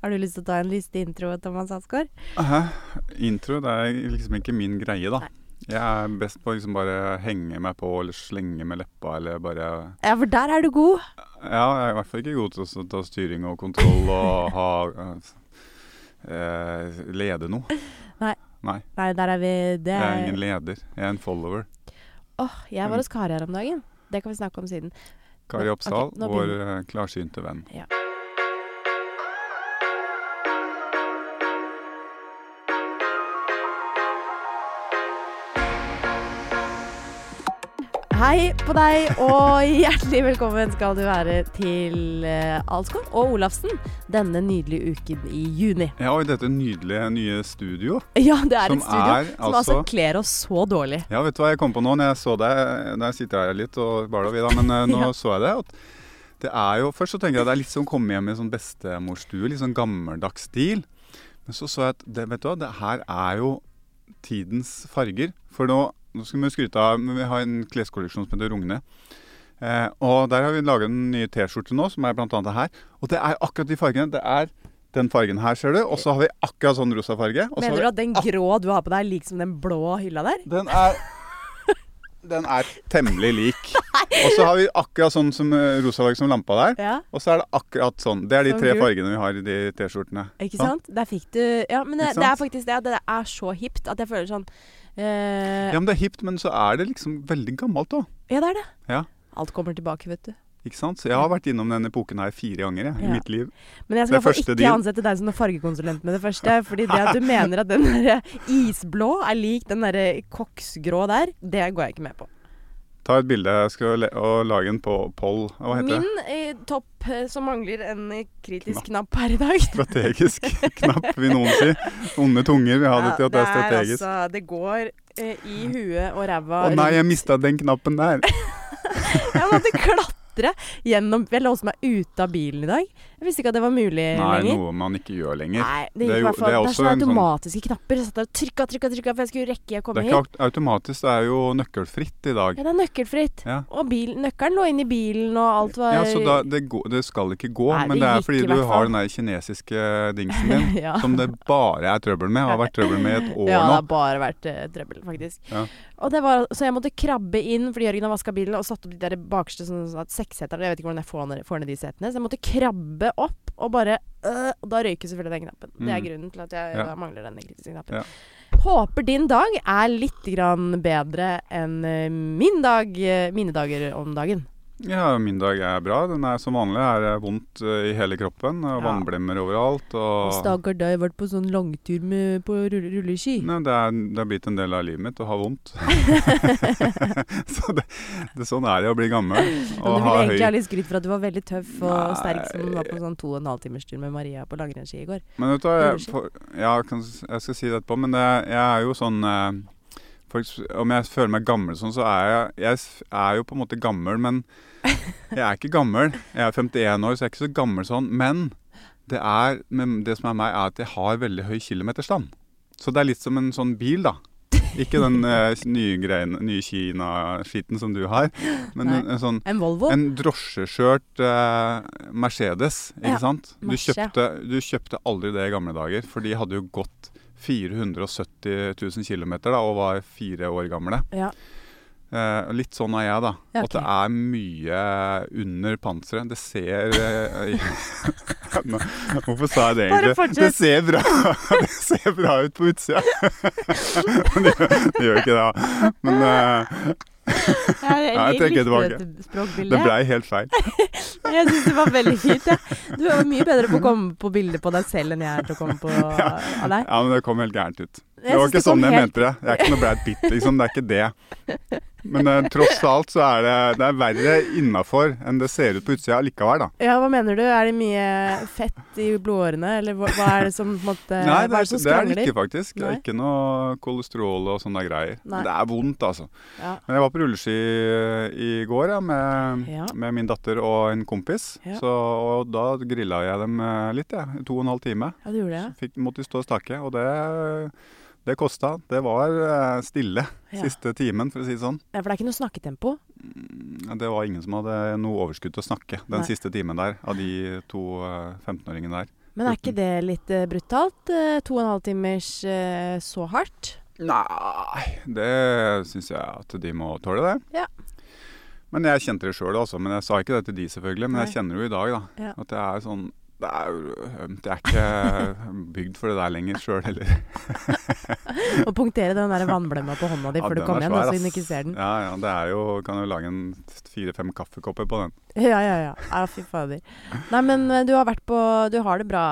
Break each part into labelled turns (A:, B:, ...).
A: Har du lyst til å ta en liste intro, Thomas Hansgaard?
B: Hæ? Intro det er liksom ikke min greie, da. Jeg er best på å liksom bare henge meg på eller slenge med leppa eller bare
A: Ja, for der er du god.
B: Ja, jeg er i hvert fall ikke god til å s- ta styring og kontroll og ha eh, Lede noe.
A: Nei.
B: Nei.
A: Nei, der er vi Det
B: Jeg er
A: er
B: ingen Mm. leder. Jeg er en follower.
A: Åh, jeg var hos Kari her om dagen. Det kan vi snakke om siden.
B: Kari
A: Nå-
B: Oppsal,
A: ok, nå
B: vår
A: begynner-
B: eh, klarsynte venn.
A: Hei på deg, og hjertelig velkommen skal du være til eh, Alsgaard og Olafsen denne nydelige uken i juni.
B: Ja, og i dette nydelige nye studio.
A: Ja, det er
B: Som
A: et studio
B: er
A: som altså
B: altså-
A: kler oss så dårlig.
B: Ja, vet du hva jeg kom på nå når jeg så deg? Når jeg sitter her litt og baler vi da, men eh, nå
A: Ja.
B: så jeg det. At det er jo, først så tenker jeg at det er litt sånn komme hjem i sånn bestemorstue, litt sånn gammeldags stil. Men så så jeg at det, vet du hva, det her er jo tidens farger. For nå, nå skal vi jo skryte av men Vi har en kleskolleksjon som heter Rogne. Eh, og der har vi laget en ny T-skjorte nå, som er blant annet her. Og det er akkurat de fargene. Det er den fargen her, ser du. Og så har vi akkurat sånn rosa farge. Og så har
A: Mener
B: vi
A: du at den grå du har på deg, er lik som den blå hylla der?
B: den er Den er temmelig lik. Og så har vi akkurat sånn som eh, rosa farge som lampa der.
A: Ja.
B: Og så er det akkurat sånn. Det er de
A: Som
B: tre
A: gul.
B: fargene vi har i de T-skjortene.
A: Ikke sant? Der fikk du Ja, men det,
B: Ikke
A: det er
B: sant?
A: faktisk det. at Det er så hipt at jeg føler sånn
B: Ja,
A: eh, ja.
B: men det er hipt, men så er det liksom veldig gammelt òg.
A: det er det.
B: Ja.
A: Alt kommer tilbake, vet du.
B: Ikke sant? Så jeg har vært innom den epoken her fire ganger jeg,
A: Ja.
B: i mitt liv.
A: Men jeg skal
B: Det
A: i hvert fall
B: første
A: ikke
B: din-
A: ansette deg som noen fargekonsulent med det første. Fordi det at du mener at den der eh, isblå er lik den derre koksgrå der, det går jeg ikke med på.
B: Ta et bilde jeg skal le og lage en på poll. Hva
A: Min
B: heter det?
A: eh, topp eh, som mangler en eh, kritisk knapp her i dag
B: Strategisk knapp, vil noen si. Onde tunger vil ha det til at det er
A: det
B: strategisk.
A: altså Det går eh, i huet og ræva
B: Å nei, jeg
A: rundt.
B: mista den knappen der.
A: Jeg måtte klatre gjennom Jeg låste meg ute av bilen i dag. Jeg visste ikke at det var mulig
B: Nei,
A: lenger.
B: noe man ikke gjør lenger.
A: Nei, det,
B: Det
A: gikk
B: er
A: i
B: jo-
A: hvert fall.
B: det er
A: Det er
B: også
A: sånne
B: en sånn-
A: automatiske knapper. Jeg satt der og trykka, trykka, trykka, for jeg skulle rekke jeg
B: Det
A: komme
B: er
A: hit.
B: ikke au- automatisk, det er jo nøkkelfritt i dag.
A: Ja, det er nøkkelfritt.
B: Ja.
A: Og bil, nøkkelen lå inni bilen, og alt var
B: Ja, så da, det, går, det skal ikke gå,
A: Nei,
B: men
A: det
B: det er
A: gikk i
B: fordi du
A: hvert fall.
B: har den der kinesiske dingsen din
A: Ja.
B: som det bare er trøbbel med, og har vært trøbbel med i et år
A: Ja, det
B: nå.
A: har bare vært eh, trøbbel, faktisk.
B: Ja.
A: Og det var, så jeg måtte krabbe inn, fordi Jørgen har vaska bilen, og satt opp de der bakerste sånn, sånn at seksseterne Jeg vet ikke hvordan jeg får ned, får ned de setene, så jeg måtte krabbe opp og bare øh, Og da røyker selvfølgelig den knappen. Det er
B: Mm.
A: grunnen til at jeg
B: Ja.
A: da mangler denne kritiske knappen.
B: Ja.
A: Håper din dag er litt grann bedre enn eh, min dag, eh, mine dager om dagen.
B: Ja, min dag er bra. Den er som vanlig er det vondt eh, i hele kroppen. og
A: Ja.
B: Vannblemmer overalt. Og
A: Stakkar deg, vært på sånn langtur med, på rulle- rulleski.
B: Nei, det, er, det har blitt en del av livet mitt å ha vondt. så det, det, sånn er det å bli gammel
A: Ja, du
B: og ha
A: ville egentlig ha
B: høy
A: litt skryt for at du var veldig tøff og
B: Nei.
A: sterk som var på sånn to og en halv timers tur med Maria på langrennsski i går.
B: Men vet du hva, jeg,
A: Rulleski.
B: for, ja, kan, s- jeg skal si det etterpå, men det, jeg er jo sånn eh, for, eks- Om jeg føler meg gammel sånn, så er jeg, jeg s- er jo på en måte gammel, men jeg er ikke gammel. Jeg er 51 år, så jeg er ikke så gammel sånn. Men det, er, men det som er meg, er at jeg har veldig høy kilometerstand. Så det er litt som en sånn bil, da. Ikke den eh, nye, greien- nye Kina-skitten som du har, men
A: Nei.
B: en, en sånn
A: En Volvo?
B: en drosjeskjørt eh, Mercedes, ikke
A: Ja,
B: sant? Du
A: Merce.
B: kjøpte, du kjøpte aldri det i gamle dager, for de hadde jo gått 470 000 km da, og var fire år gamle.
A: ja.
B: Eh, litt sånn er jeg, da.
A: Ja,
B: At det
A: ok.
B: er mye under panseret. Det ser eh, Nå, Hvorfor sa jeg det
A: Bare
B: egentlig?
A: fortsett.
B: Det ser bra Det ser bra ut på utsida. Men det, gjør- det gjør ikke det, da. Men eh, Nei, jeg trekker tilbake. det blei helt feil.
A: Jeg syns det var veldig fint. Ja. Du er mye bedre på å komme på bilder på deg selv enn jeg er til å komme på av deg.
B: Ja, men det kom helt gærent ut.
A: Jeg
B: Det
A: synes
B: var ikke
A: kom
B: sånn jeg
A: helt-
B: mente det. Det er ikke noe blært bitt, liksom. Det er ikke det. Men eh, tross alt så er det, det er verre innafor enn det ser ut på utsida likevel, da.
A: Ja, hva mener du? Er det mye fett i blodårene, eller hva, hva er det som på en måte,
B: Nei,
A: Eh,
B: det
A: hva
B: er,
A: er det som
B: det er det
A: skrangler?
B: ikke, faktisk. Det
A: Nei.
B: er ikke noe kolesterol og sånne greier.
A: Nei.
B: Det er vondt, altså.
A: Ja.
B: Men jeg var på rulleski eh, i går ja, med,
A: Ja.
B: med min datter og en kompis.
A: Ja.
B: Så, og da grilla jeg dem eh, litt, jeg. Ja, to og en halv time.
A: ja, du gjorde det?
B: Fikk, måtte stå og stakke, og det, det kosta. Det var eh, stille
A: Ja.
B: siste timen, for å si det sånn.
A: Ja, for det er ikke noe snakketempo?
B: Ja, Det var ingen som hadde noe overskudd til å snakke den
A: Nei.
B: siste timen der, av de to eh, 15-åringene der.
A: Men er ikke det litt eh, brutalt? Eh, to og en halv timers eh, så hardt?
B: Nei, det syns jeg at de må tåle, det.
A: Ja.
B: Men jeg kjente det sjøl, altså. Men jeg sa ikke det til de, selvfølgelig. Men jeg kjenner det jo i dag, da.
A: Ja.
B: At det er sånn det er jo ømt. Jeg er ikke bygd for det der lenger sjøl heller.
A: Å punktere den der vannblemma på hånda di
B: Ja,
A: før du altså,
B: den
A: kommer
B: er
A: hjem,
B: svær,
A: da, så
B: ass.
A: hun ikke ser den.
B: Ja, ja, det er jo Kan jo lage en fire-fem kaffekopper på den.
A: Ja, ja, ja. ja fy fader. Nei, men eh, du har vært på Du har det bra.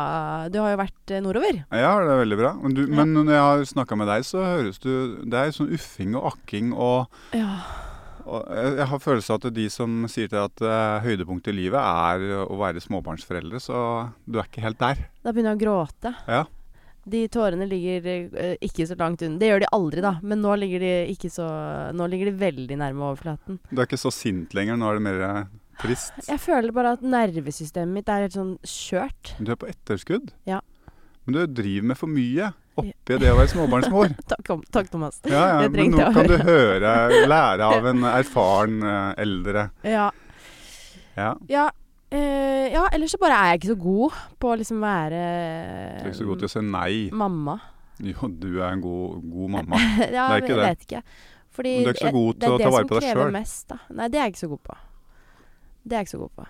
A: Du har jo vært eh, nordover.
B: Ja, det er veldig bra. Men, du,
A: Ja.
B: men når jeg har snakka med deg, så høres du Det er sånn uffing og akking og,
A: Ja.
B: og Jeg jeg har følelse av at de som sier til deg at eh, høydepunktet i livet er eh, å være småbarnsforeldre, så du er ikke helt der.
A: Da begynner jeg å gråte.
B: Ja.
A: De tårene ligger eh, ikke så langt unna. Det gjør de aldri, da. Men nå ligger de ikke så Nå ligger de veldig nærme overflaten.
B: Du er ikke så sint lenger, nå er det mer eh, trist.
A: Jeg føler bare at nervesystemet mitt er helt sånn skjørt.
B: Du er på etterskudd.
A: Ja.
B: Men du driver med for mye oppi det å være småbarnsmor.
A: Takk, om- takk Thomas.
B: Ja, ja,
A: Det
B: men
A: trengte
B: nå
A: jeg å
B: kan du høre, lære av en erfaren eh, eldre.
A: Ja.
B: Ja.
A: Ja, eh, ja, ellers så bare er jeg ikke så god på å liksom være
B: Du er ikke så god til å si
A: Um.
B: nei.
A: mamma.
B: Jo, du er en god, god mamma.
A: ja,
B: Det er ikke
A: men
B: det.
A: jeg vet ikke. Fordi
B: Men du er ikke så god
A: jeg-
B: til å ta vare på deg
A: Det er det som
B: selv.
A: krever mest, da. Nei, det er jeg ikke så god på. Det er jeg ikke så god på.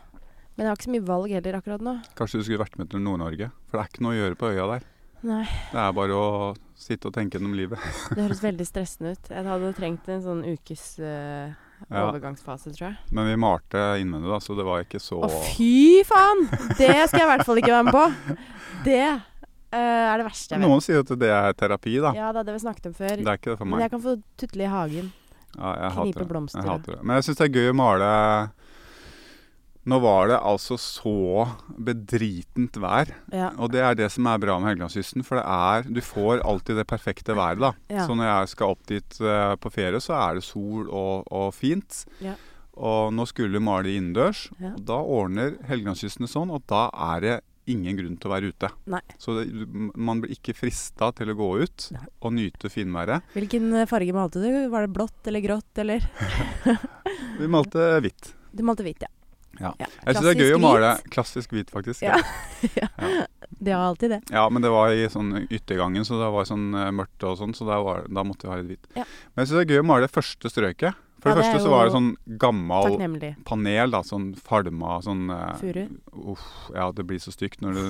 A: Men jeg har ikke så mye valg heller akkurat nå.
B: Kanskje du skulle vært med til Nord-Norge? For det er ikke noe å gjøre på øya der.
A: Nei,
B: Det er bare å sitte og tenke gjennom livet.
A: Det høres veldig stressende ut. Jeg hadde trengt en sånn ukes eh,
B: Ja.
A: overgangsfase, tror jeg.
B: Men vi malte innvendig, da, så det var ikke så
A: Å, fy faen! Det skal jeg i hvert fall ikke være med på. Det eh, er det verste jeg vet.
B: Noen sier at det er terapi, da.
A: Ja, det hadde vi snakket om før.
B: Det er ikke det for
A: Men
B: meg.
A: jeg kan få tutle i hagen.
B: Ja, jeg
A: knipe
B: hater det.
A: blomster,
B: Jeg
A: ja.
B: hater det. Men jeg syns det er gøy å male Nå var det altså så bedritent vær.
A: Ja.
B: Og det er det som er bra med Helgelandskysten, for det er Du får alltid det perfekte været, da.
A: Ja.
B: Så når jeg skal opp dit eh, på ferie, så er det sol og, og fint.
A: Ja.
B: Og nå skulle vi male innendørs.
A: Ja.
B: og Da ordner Helgelandskysten det sånn at da er det ingen grunn til å være ute.
A: Nei.
B: Så det, man blir ikke frista til å gå ut
A: Nei.
B: og nyte finværet.
A: Hvilken eh, farge malte du? Var det blått eller grått, eller?
B: Vi malte hvitt.
A: Du malte hvitt, ja.
B: Ja.
A: Ja,
B: Jeg syns det er
A: klassisk
B: gøy å male klassisk hvit, faktisk.
A: Ja.
B: Ja.
A: Det har alltid det.
B: Ja, men det var i sånn yttergangen, så det var sånn eh, mørkt og sånn, så da, var, da måtte vi ha litt hvitt.
A: Ja.
B: Men jeg syns det er gøy å male det første strøket. For
A: Ja,
B: det
A: det er
B: første så var det
A: jo
B: sånn gammal
A: Takknemlig.
B: panel, da, sånn falma sånn eh,
A: Furu.
B: Uff, ja, det blir så stygt når det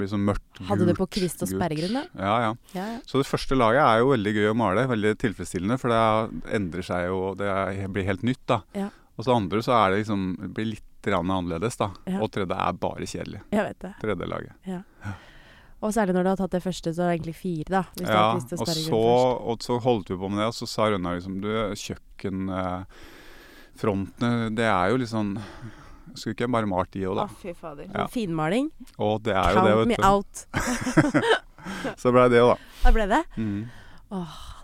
B: blir sånn mørkt, gult.
A: Hadde du på kvist og
B: gult.
A: sperregrunn, da?
B: Ja, ja.
A: Ja, ja.
B: Så det første laget er jo veldig gøy å male, veldig tilfredsstillende, for det endrer seg jo, og det er- blir helt nytt, da.
A: Ja.
B: Og så andre så er det liksom, det blir litt grann annerledes, da.
A: Ja.
B: Og tredje er bare kjedelig.
A: Jeg vet det.
B: Tredje laget.
A: Og særlig når du har tatt det første, så er det egentlig fire, da. Hvis du har
B: Ja,
A: kvist og
B: og så,
A: sperregrunn først.
B: og så holdt vi på med det, og så sa Rønna liksom Du, kjøkkenfrontene, det er jo litt sånn Skulle ikke jeg bare malt de òg, da?
A: Å, fy fader.
B: Ja.
A: Finmaling.
B: Og det er jo det,
A: Count me
B: vet du.
A: out.
B: Så blei det jo, da.
A: Da ble det.
B: Mm.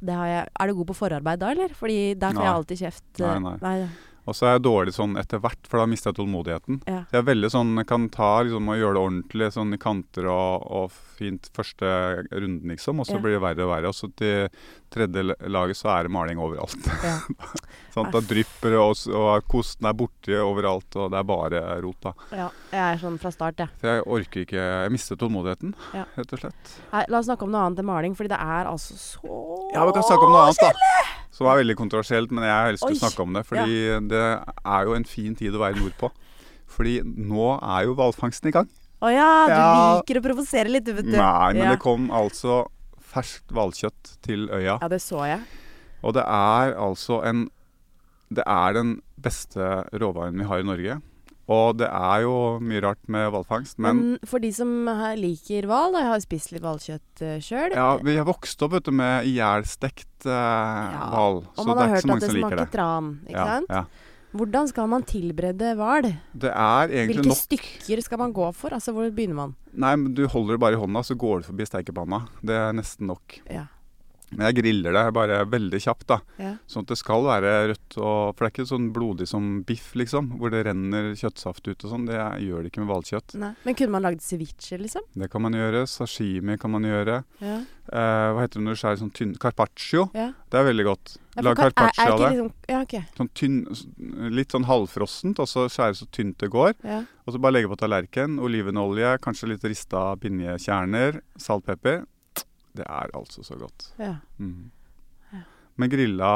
A: det har jeg. Er du god på forarbeid da, eller? Fordi der får
B: Nei.
A: jeg alltid kjeft.
B: Nei,
A: eh,
B: nei.
A: ja.
B: Og så er jeg dårlig sånn etter hvert, for da mister jeg tålmodigheten.
A: Ja.
B: Jeg er veldig sånn, kan ta liksom, og gjøre det ordentlig sånn i kanter og, og fint første runden, liksom. Og så
A: Ja.
B: blir det verre og verre. Og så til tredje l- laget så er det maling overalt.
A: Ja.
B: sånn, da drypper det, og, s- og kosten er borti overalt, og det er bare rot, da.
A: ja. Jeg er sånn fra start, jeg.
B: For jeg orker ikke Jeg mister tålmodigheten,
A: Ja.
B: rett og slett.
A: Nei, La oss snakke om noe annet enn maling, fordi det er altså så
B: Ja, vi kan snakke om noe annet, da. Som er veldig kontroversielt, men jeg elsker
A: Oi.
B: å snakke om det. Fordi det er jo en fin tid å være nordpå. Fordi nå er jo hvalfangsten i gang.
A: Å ja, du
B: Ja.
A: liker å provosere litt, du, vet du.
B: Nei, men
A: ja.
B: det kom altså ferskt hvalkjøtt til øya.
A: Ja, det så jeg.
B: Og det er altså en Det er den beste råvaren vi har i Norge. Og det er jo mye rart med hvalfangst, men
A: Men for de som her liker hval, da, jeg har spist litt hvalkjøtt eh, sjøl
B: ja, vi har vokst opp vet du, med ihjelstekt
A: Ja,
B: eh, hval,
A: Og
B: så
A: man
B: det
A: har
B: er ikke
A: hørt at
B: så mange
A: det
B: som liker
A: smaker
B: det.
A: tran. ikke
B: ja,
A: sant?
B: ja.
A: Hvordan skal man tilberede hval?
B: Det er egentlig
A: Hvilke
B: nok
A: stykker skal man gå for? Altså, Hvor begynner man?
B: Nei, men du holder det bare i hånda, så går du forbi steikepanna. Det er nesten nok.
A: Ja.
B: Men jeg griller det bare veldig kjapt, da.
A: Ja.
B: Sånn at det skal være rødt og For det er ikke sånn blodig som biff, liksom. Hvor det renner kjøttsaft ut og sånn. Det gjør det ikke med hvalkjøtt.
A: Nei. Men kunne man lagd ceviche, liksom?
B: Det kan man gjøre. Sashimi kan man gjøre.
A: Ja.
B: Eh, hva heter det når du skjærer sånn tynn Carpaccio.
A: ja.
B: Det er veldig godt.
A: Ja, for
B: Lag
A: ka- er- er
B: carpaccio
A: ikke
B: av det.
A: Liksom, ja, ok.
B: Sånn tynn, litt sånn halvfrossent, og så skjære så tynt det går.
A: Ja.
B: Og så bare legge på tallerken, olivenolje, kanskje litt rista pinjekjerner, salt, pepper. Det er altså så godt.
A: Ja.
B: Mm. Men grilla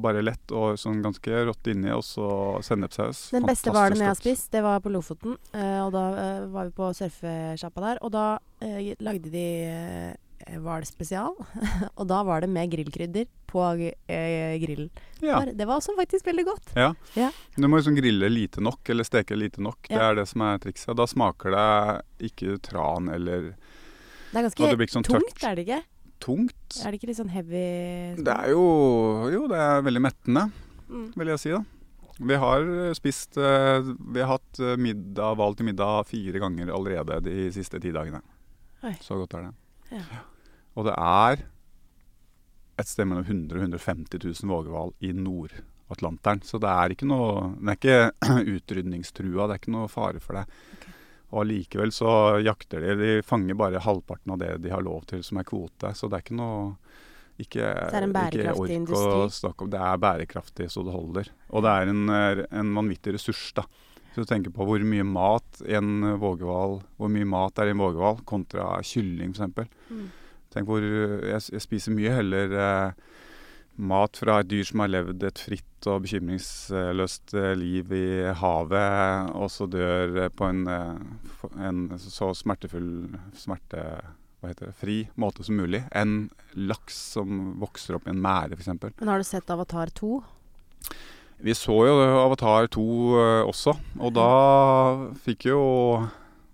B: bare lett og sånn ganske rått inni, og så sennepssaus.
A: Den beste
B: Fantastisk
A: hvalen jeg har
B: godt.
A: spist, det var på Lofoten. eh, og da eh, var vi på surfesjappa der. Og da eh, lagde de eh, hvalspesial. og da var det med grillkrydder på eh, grillen.
B: Ja.
A: Bare- Det var også faktisk veldig godt.
B: ja.
A: Ja.
B: Du må liksom grille lite nok, eller steke lite nok. Det
A: Ja.
B: er det som er trikset. Da smaker det ikke tran eller
A: Det er
B: Og det
A: ganske
B: blir ikke sånn
A: tungt,
B: tørt.
A: er det ikke?
B: tungt.
A: Er det ikke litt sånn heavy
B: Det er jo Jo, det er veldig mettende,
A: Mm.
B: vil jeg si, da. Vi har eh, spist eh, Vi har hatt eh, middag, hval til middag fire ganger allerede de siste ti dagene.
A: Oi.
B: Så godt er det.
A: Ja.
B: Og det er et sted mellom 100 og 150 000 vågehval i Nord-Atlanteren. Så det er ikke noe Den er ikke utrydningstrua, det er ikke noe fare for det. Og allikevel så jakter de. De fanger bare halvparten av det de har lov til, som er kvote. Så det er ikke noe ikke,
A: Det er en
B: ikke
A: bærekraftig
B: ork
A: industri.
B: Å snakke om. Det er bærekraftig så det holder. Og det er en, eh, en vanvittig ressurs, da. Så du tenker på hvor mye mat en vågehval Hvor mye mat er i en vågehval kontra kylling, f.eks.
A: Mm.
B: Tenk hvor eh, jeg, s- jeg spiser mye heller eh, mat fra et dyr som har levd et fritt og bekymringsløst eh, liv i havet, og så dør eh, på en, eh, f- en så smertefull smerte... Hva heter det? Fri måte som mulig. Enn laks som vokser opp i en mære, f.eks.
A: Men har du sett Avatar 2?
B: Vi så jo Avatar 2 eh, også, og da fikk jo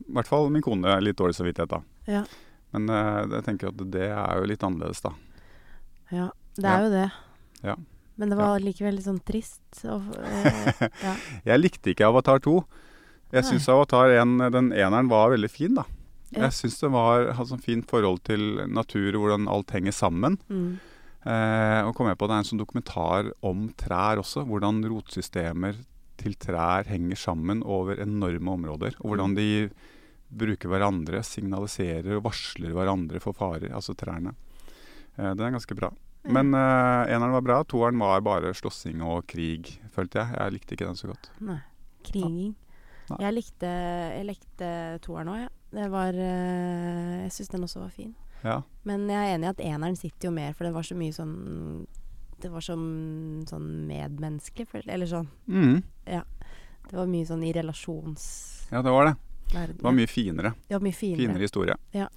B: i hvert fall min kone litt dårlig samvittighet, da.
A: Ja.
B: Men eh, jeg tenker at det er jo litt annerledes, da.
A: Ja, det er
B: Ja.
A: jo det.
B: Ja.
A: Men det var likevel litt sånn trist. Og, eh, ja.
B: Jeg likte ikke Avatar 2. Jeg
A: Nei.
B: syns Avatar 1, den eneren, var veldig fin, da.
A: Ja.
B: Jeg syns den var, hadde sånn fint forhold til natur og hvordan alt henger sammen.
A: Mm.
B: Eh, og kom jeg på det er en sånn dokumentar om trær også. Hvordan rotsystemer til trær henger sammen over enorme områder. Og
A: Mm.
B: hvordan de bruker hverandre, signaliserer og varsler hverandre for farer. Altså trærne. Eh, den er ganske bra.
A: Ja.
B: Men eh, eneren var bra, toeren var bare slåssing og krig, følte jeg. Jeg likte ikke den så godt.
A: Nei. Kriging.
B: Nei.
A: Jeg likte, jeg likte toeren òg, jeg. Det var eh, Jeg syns den også var fin.
B: Ja.
A: Men jeg er enig i at eneren sitter jo mer, for det var så mye sånn Det var sånn, sånn medmenneskelig, føl- eller sånn.
B: Mm.
A: Det var mye sånn i relasjonsverden.
B: Ja, det var det. Det var mye finere.
A: det var mye finere.
B: Finere historie.
A: Ja.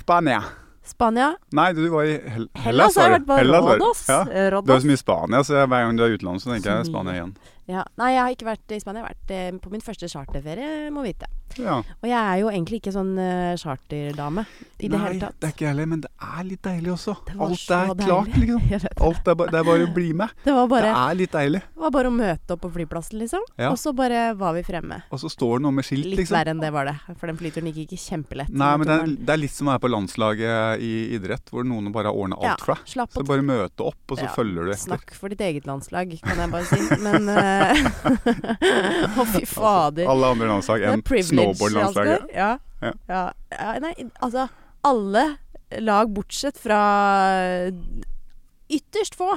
B: Spania.
A: Spania.
B: Nei, du var i Hel
A: Hellas har
B: var
A: jeg
B: du.
A: vært på
B: Hellas var du.
A: Rådos.
B: Ja.
A: Eh,
B: Du er
A: Rådos.
B: så mye i Spania, så jeg, hver gang du er i utlandet, så tenker jeg
A: Så mye.
B: Spania igjen.
A: Ja. Nei, jeg har ikke vært i Spania. Jeg har vært eh, på min første charterferie, må vite.
B: Ja.
A: Og jeg er jo egentlig ikke sånn eh, charterdame i det
B: Nei,
A: hele tatt.
B: det er ikke jeg heller, men det er litt deilig også.
A: Det var
B: Alt
A: så
B: er
A: deilig.
B: klart, liksom.
A: Jeg vet.
B: Alt er, ba det er bare å bli med.
A: Det var bare,
B: Det er litt deilig.
A: var bare å møte opp på flyplassen, liksom.
B: Ja.
A: Og så bare var vi fremme.
B: Og så står det noe med skilt,
A: Litt
B: liksom.
A: verre enn det var det, for den flyturen gikk ikke kjempelett.
B: Nei, men det er, det er litt som å være på landslaget i idrett, hvor noen bare har ordna alt for deg.
A: slapp
B: Så
A: å
B: bare møte opp, og så
A: Ja,
B: følger du etter.
A: Snakk for ditt eget landslag, kan jeg bare si. Men eh, Å, fy fader.
B: Altså, Alle andre landslag
A: Det er
B: enn
A: privilege,
B: snowboardlandslaget.
A: Asgeir. Ja.
B: Ja.
A: Ja. Ja, Nei, altså Alle lag bortsett fra ytterst få.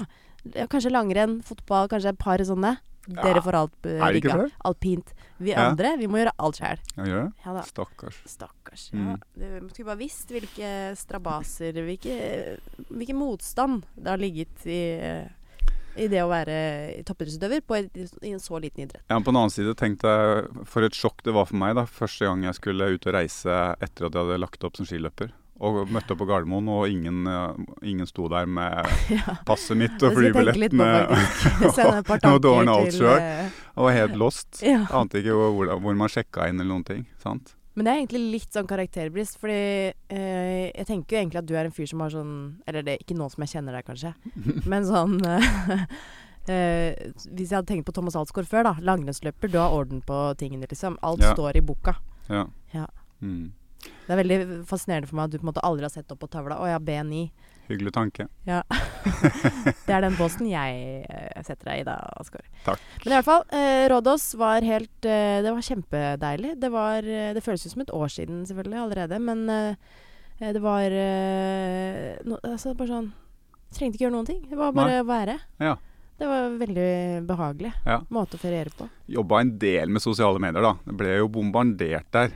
A: Kanskje langrenn, fotball, kanskje et par sånne. Dere
B: Ja.
A: får alt eh,
B: Er det ikke
A: rigga.
B: flere?
A: Alpint. Vi
B: Ja.
A: andre, vi må gjøre alt sjæl.
B: Ja, gjør det?
A: Ja da.
B: Stakkars.
A: Stakkars. Ja. Du skulle bare visst hvilke strabaser Hvilke, hvilken motstand det har ligget i eh, i det å være toppidrettsutøver på et, i en så liten idrett.
B: Ja, men på den annen side tenkte jeg for et sjokk det var for meg da, første gang jeg skulle ut og reise etter at jeg hadde lagt opp som skiløper. og møtte opp på Gardermoen, og ingen, eh, ingen sto der med
A: Ja.
B: passet mitt
A: Det
B: og
A: skal jeg tenke litt
B: flybillettene.
A: på, faktisk. Sende et par
B: Jeg måtte ordne
A: tanker
B: alt
A: til
B: selv.
A: eh,
B: Og var helt lost.
A: ja.
B: Ante ikke hvor, hvordan- hvor man sjekka inn eller noen ting. sant?
A: Men det er egentlig litt sånn karakterbrist, fordi eh, jeg tenker jo egentlig at du er en fyr som har sånn Eller det er ikke nå som jeg kjenner deg, kanskje, men sånn eh, eh, Hvis jeg hadde tenkt på Thomas Alsgaard før, da. Langrennsløper. Du har orden på tingene, liksom. Alt
B: Ja.
A: står i boka.
B: Ja.
A: Ja.
B: Mm.
A: Det er veldig fascinerende for meg at du på en måte aldri har sett opp på tavla. Å ja, B9.
B: Hyggelig tanke.
A: Ja. det er den posten jeg eh, setter deg i da, Asgaard.
B: Takk.
A: Men i hvert fall, eh, Rådås var helt eh, Det var kjempedeilig. Det, var, eh, det føles jo som et år siden selvfølgelig allerede, men eh, eh, det var eh, no, altså, bare sånn Trengte ikke gjøre noen ting. Det var bare å være.
B: Ja.
A: Det var veldig behagelig
B: Ja.
A: måte å feriere på.
B: Jobba en del med sosiale medier, da. Det ble jo bombardert der.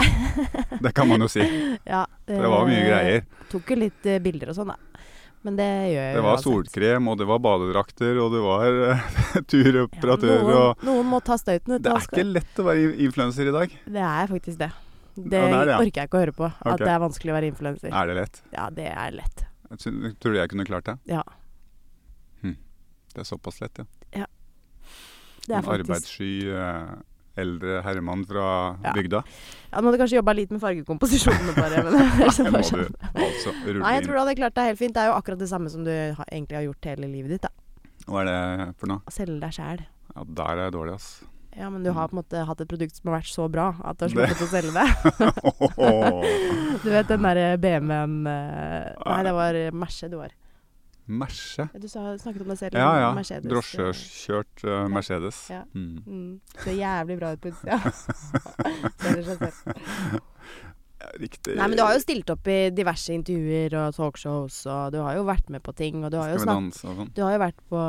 B: Det kan man jo si.
A: Ja, eh,
B: Det var mye greier.
A: Tok jo litt eh, bilder og sånn, da. Men det gjør jeg
B: Det
A: jo
B: var
A: uansett.
B: solkrem, og det var badedrakter, og det var eh, turoperatører
A: noen,
B: og
A: noen må ta støyten, vet du.
B: Det er
A: Asgaard.
B: ikke lett å være influenser i dag.
A: Det er faktisk det. Det,
B: Ja, det er det, ja.
A: orker jeg ikke å høre på. At
B: Ok.
A: det er vanskelig å være influenser.
B: Er det lett?
A: Ja, det er lett.
B: Jeg sy- Tror du jeg kunne klart det?
A: Ja.
B: Hm. Det er såpass lett, ja.
A: Det er
B: en
A: faktisk.
B: arbeidssky eh, eldre herremann fra
A: Ja.
B: bygda.
A: Ja, nå hadde du kanskje jobba litt med fargekomposisjonene bare. Men
B: Det
A: det
B: må
A: var
B: du
A: sånn.
B: altså rulle
A: Nei, jeg tror
B: inn.
A: du hadde klart deg helt fint. Det er jo akkurat det samme som du har, egentlig har gjort hele livet ditt. da
B: Hva er det for noe?
A: Å selge deg sjæl.
B: Ja, der er jeg dårlig, ass.
A: Ja, men du har på en måte hatt et produkt som har vært så bra at du har
B: Mm. Det-
A: sluttet å selge det. Du vet den derre BMW-en eh, Nei, det var Merce du var.
B: Merse.
A: Du sa, snakket om deg selv.
B: Ja ja.
A: Mercedes. eh.
B: Drosjekjørt eh, Mercedes.
A: Ja.
B: Mm.
A: Mm, ser jævlig bra ut på utsida. Selger seg selv.
B: Ja, Riktig.
A: Nei, men du har jo stilt opp i diverse intervjuer og talkshows, og du har jo vært med på ting, og du har jo,
B: Skal vi
A: snak
B: danse og sånn?
A: du har jo vært på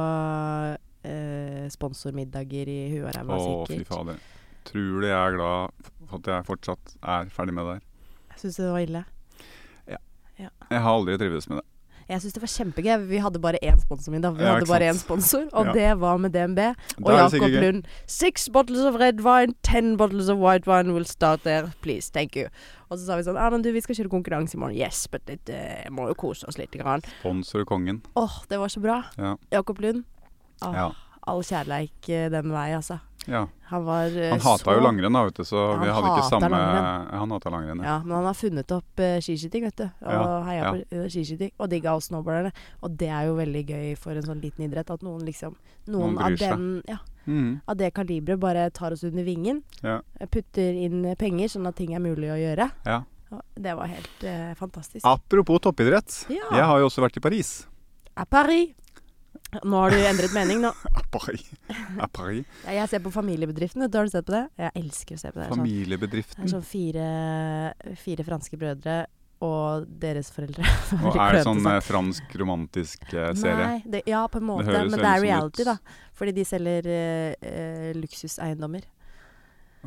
A: eh, sponsormiddager i huet og ræva,
B: Å, fy
A: sikkert.
B: fader. Tror du jeg er glad for at jeg fortsatt er ferdig med det her?
A: Jeg syns det var ille.
B: Jeg har aldri trivdes med det.
A: Jeg syns det var kjempegøy. Vi hadde bare én sponsormiddag. Vi
B: Ja,
A: hadde
B: ikke
A: bare én
B: sant?
A: sponsor, og
B: Ja.
A: det var med DNB. Og
B: Da er det
A: Jakob
B: sikkert gøy.
A: Lund. Six bottles of red wine, ten bottles of white wine will start there, please, thank you. Og så sa vi sånn Ja, men du, vi skal kjøre konkurranse i morgen. Yes, but it, eh, må jo kose oss lite grann.
B: Sponsor kongen.
A: Åh, det var så bra.
B: Ja.
A: Jakob Lund. Ah,
B: Ja.
A: All kjærleik eh, den vei, altså.
B: ja.
A: Han var eh,
B: Han hata
A: så
B: jo langrenn, da, vet du, så
A: Han
B: vi hadde ikke
A: hater
B: samme
A: langrenn.
B: Han hata langrenn, ja.
A: Ja, men han har funnet opp eh, skiskyting, vet du. Og
B: Ja,
A: heia
B: ja.
A: på eh, skiskyting. Og digga oss snowboarderne. Og det er jo veldig gøy for en sånn liten idrett at noen liksom Noen,
B: Noen
A: av,
B: bryr seg.
A: den, ja,
B: Mhm.
A: av det kaliberet bare tar oss under vingen.
B: Ja.
A: eh, Putter inn eh, penger, sånn at ting er mulig å gjøre.
B: ja.
A: Og det var helt eh, fantastisk.
B: Apropos toppidrett.
A: Ja.
B: Jeg har jo også vært i Paris.
A: À Paris! Nå har du endret mening, nå.
B: À Paris. À Paris.
A: Ja, Jeg ser på Familiebedriften, vet du. Har du sett på det? Jeg elsker å se på det. Sånn. Det
B: Familiebedriften.
A: er sånn fire, fire franske brødre og deres foreldre.
B: Og er det sånn eh, fransk romantisk eh, serie?
A: Nei, det, ja, på en måte.
B: høres
A: men det
B: veldig
A: er
B: sånn
A: reality,
B: ut.
A: da. Fordi de selger eh, eh, luksuseiendommer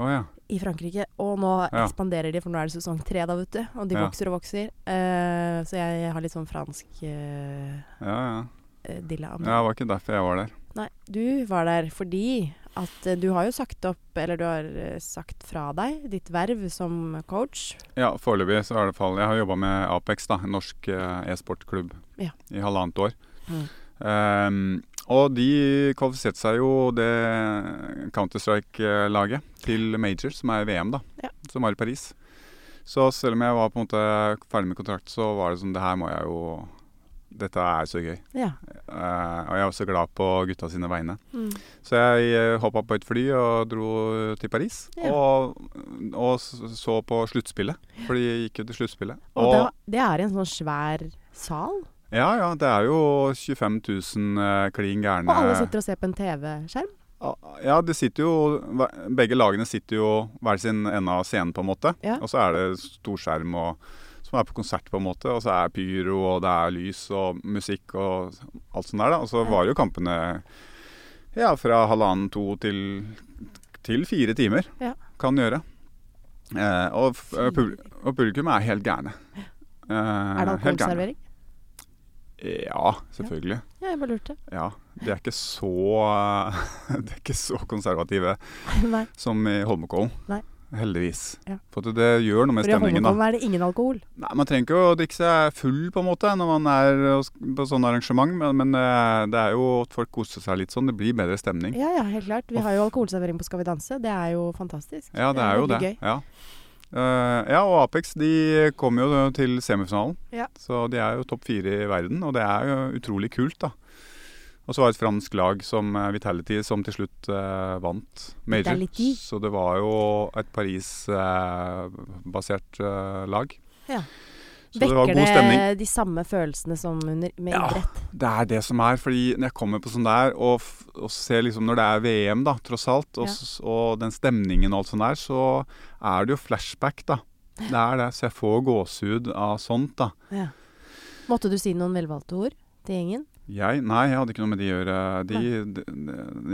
B: Å ja.
A: i Frankrike. Og nå
B: Ja.
A: ekspanderer de, for nå er det sesong tre, da, vet du. Og de
B: Ja.
A: vokser og vokser. Eh, så jeg har litt sånn fransk eh,
B: Ja, ja.
A: eh, dilla om
B: ja, det var ikke derfor jeg var der.
A: Nei, du var der fordi at eh, du har jo sagt opp, eller du har eh, sagt fra deg, ditt verv som coach.
B: Ja, foreløpig så er det fall Jeg har jobba med Apex, da, en norsk eh, e-sportklubb,
A: Ja.
B: i halvannet år.
A: Mm.
B: Ehm, og de kvalifiserte seg jo, det Counter-Strike-laget, til Major, som er VM, da.
A: Ja.
B: Som var i Paris. Så selv om jeg var på en måte ferdig med kontrakt, så var det sånn Det her må jeg jo Dette er så gøy.
A: Ja.
B: Eh, og jeg er også glad på gutta sine vegne.
A: Mm.
B: Så jeg hoppa på et fly og dro til Paris.
A: Ja.
B: Og, og s- så på sluttspillet, for de gikk jo til sluttspillet.
A: Og det, det er i en sånn svær sal,
B: ja, ja, det er jo 25 000 eh, klin
A: og
B: gærne
A: alle sitter og ser på en TV-skjerm.
B: Ja, det sitter jo hver- Begge lagene sitter jo hver sin ende av scenen, på en måte.
A: Ja.
B: Og så er det storskjerm og, som er på konsert, på en måte. Og så er pyro, og det er lys og musikk og alt sånt der, da. Og så varer jo kampene ja, fra halvannen, to til, til fire timer.
A: Ja.
B: Kan gjøre. Eh, og, f-
A: Fire.
B: pub- og publikum er helt gærne. Eh,
A: Er det
B: helt gærne.
A: alkoholservering?
B: Ja, selvfølgelig.
A: Ja, jeg bare lurte.
B: Ja. De er ikke så De er ikke så konservative
A: Nei.
B: som i Holmenkollen.
A: Nei.
B: heldigvis.
A: Ja.
B: For at det gjør noe med
A: For i
B: stemningen, da.
A: Holmenkollen er det ingen alkohol.
B: Nei, Man trenger ikke å drikke seg full på en måte når man er og sk- på sånne arrangement, men, men eh, det er jo at folk koser seg litt sånn. Det blir bedre stemning.
A: Ja, ja, helt klart. Vi har jo alkoholservering på Skal vi danse. Det er jo fantastisk.
B: Ja, det er jo det.
A: veldig Gøy.
B: Ja. Eh, ja, og Apex de kom jo til semifinalen.
A: Ja.
B: Så de er jo topp fire i verden, og det er jo utrolig kult, da. Og så var det et fransk lag som eh, Vitality som til slutt eh, vant major.
A: Vitality.
B: Så det var jo et Paris-basert eh, lag.
A: Ja.
B: Så det var god stemning.
A: Vekker det de samme følelsene som under, med
B: Ja.
A: idrett?
B: Det er det som er, fordi når jeg kommer på sånn der og, f- og ser liksom når det er VM, da, tross alt, og,
A: Ja.
B: s- og den stemningen og alt sånt der, så er det jo flashback, da. Det er det. Så jeg får gåsehud av sånt, da.
A: Ja. Måtte du si noen velvalgte ord til gjengen?
B: Jeg? Nei, jeg hadde ikke noe med de å gjøre. De, de,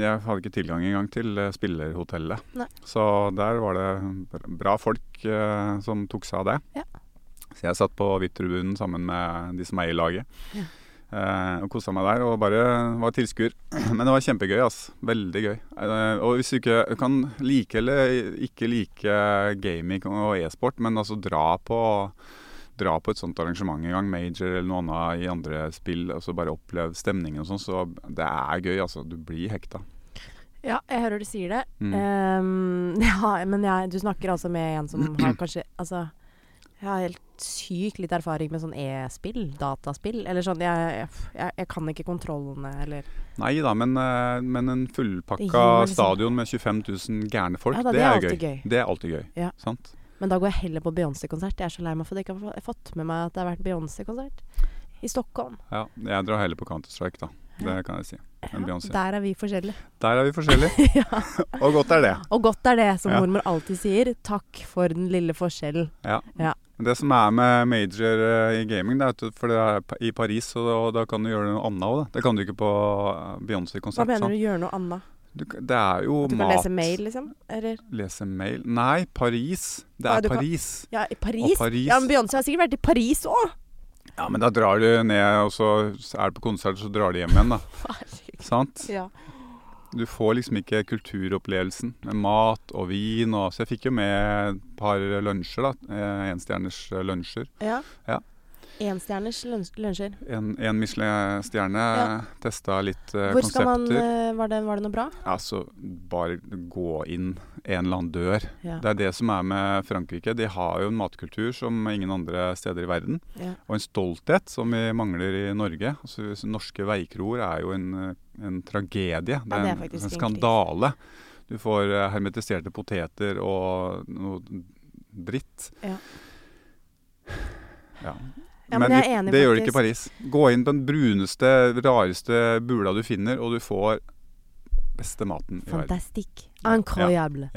B: jeg hadde ikke tilgang engang til eh, spillerhotellet.
A: Nei.
B: Så der var det br- bra folk eh, som tok seg av det.
A: Ja.
B: Så jeg satt på VIP-tribunen sammen med de som er i laget.
A: Ja.
B: Eh, og kosa meg der, og bare var tilskuer. Men det var kjempegøy, ass. Veldig gøy. Eh, og hvis du ikke du kan like eller ikke like gaming og e-sport, men altså dra på dra på et sånt arrangement en gang, major eller noe annet i andre spill, og så bare oppleve stemningen og sånn, så det er gøy, altså. Du blir hekta.
A: Ja, jeg hører du sier det.
B: Mm.
A: Ehm, ja, men jeg, du snakker altså med en som har kanskje Altså, jeg har helt sykt litt erfaring med sånn e-spill, dataspill, eller sånn. Jeg, jeg, jeg kan ikke kontrollene, eller
B: Nei da, men, eh, men
A: Det
B: en
A: gir
B: fullpakka
A: meg liksom-
B: stadion med 25 000 gærne folk,
A: Ja da,
B: det, er
A: alltid
B: gøy.
A: gøy.
B: Det er alltid gøy.
A: Ja.
B: Sant?
A: Men da går jeg heller på Beyoncé-konsert. Jeg er så lei meg for at jeg ikke har få- fått med meg at det har vært Beyoncé-konsert i Stockholm.
B: Ja. Jeg drar heller på Counter-Strike, da. Det kan jeg si. Enn Beyoncé.
A: Der er vi forskjellige.
B: Der er vi forskjellige. og godt er det.
A: Og godt er det, som
B: Ja.
A: mormor alltid sier. Takk for den lille forskjellen.
B: Ja.
A: Ja.
B: Men Det som er med major eh, i gaming, det er at du- for det er pa- i Paris, og da, og da kan du gjøre noe annet òg. Det kan du ikke på eh,
A: Hva
B: Beyoncé-konsert.
A: mener
B: sant?
A: du? Gjøre noe annet?
B: Du k- det er jo
A: At du kan
B: mat.
A: lese mail, liksom? Eller?
B: Lese mail Nei, Paris. Det
A: Nei,
B: er
A: du kan-
B: Paris.
A: Ja, i Paris.
B: Og Paris.
A: Ja, men Beyoncé har sikkert vært i Paris òg!
B: Ja, men da drar du ned, og så er du på konsert, så drar du hjem igjen, da. Sant?
A: Ja.
B: Du får liksom ikke kulturopplevelsen med mat og vin og Så jeg fikk jo med et par lunsjer, da. eh, Enstjerners eh, lunsjer.
A: ja.
B: Ja.
A: Enstjerners lunsj- lunsjer.
B: En, en Michelin-stjerne
A: Ja.
B: testa litt eh,
A: Hvor skal man
B: konsepter.
A: eh, var det, var det noe bra?
B: Altså, bare gå inn en eller annen dør.
A: Ja.
B: Det er det som er med Frankrike. De har jo en matkultur som ingen andre steder i verden.
A: Ja.
B: Og en stolthet som vi mangler i Norge. Altså, så norske veikroer er jo en, eh, en tragedie. Det er,
A: det er
B: en,
A: faktisk
B: en
A: en
B: skandale. Du får eh, hermetiserte poteter og noe dritt.
A: Ja.
B: Ja.
A: Ja, men
B: men
A: jeg
B: vi-
A: er enig,
B: det gjør det ikke i Paris.
A: faktisk.
B: Gå inn på den bruneste, rareste bula du finner, og du får beste maten i verden.
A: Fantastisk.
B: Ja.
A: Incroyable.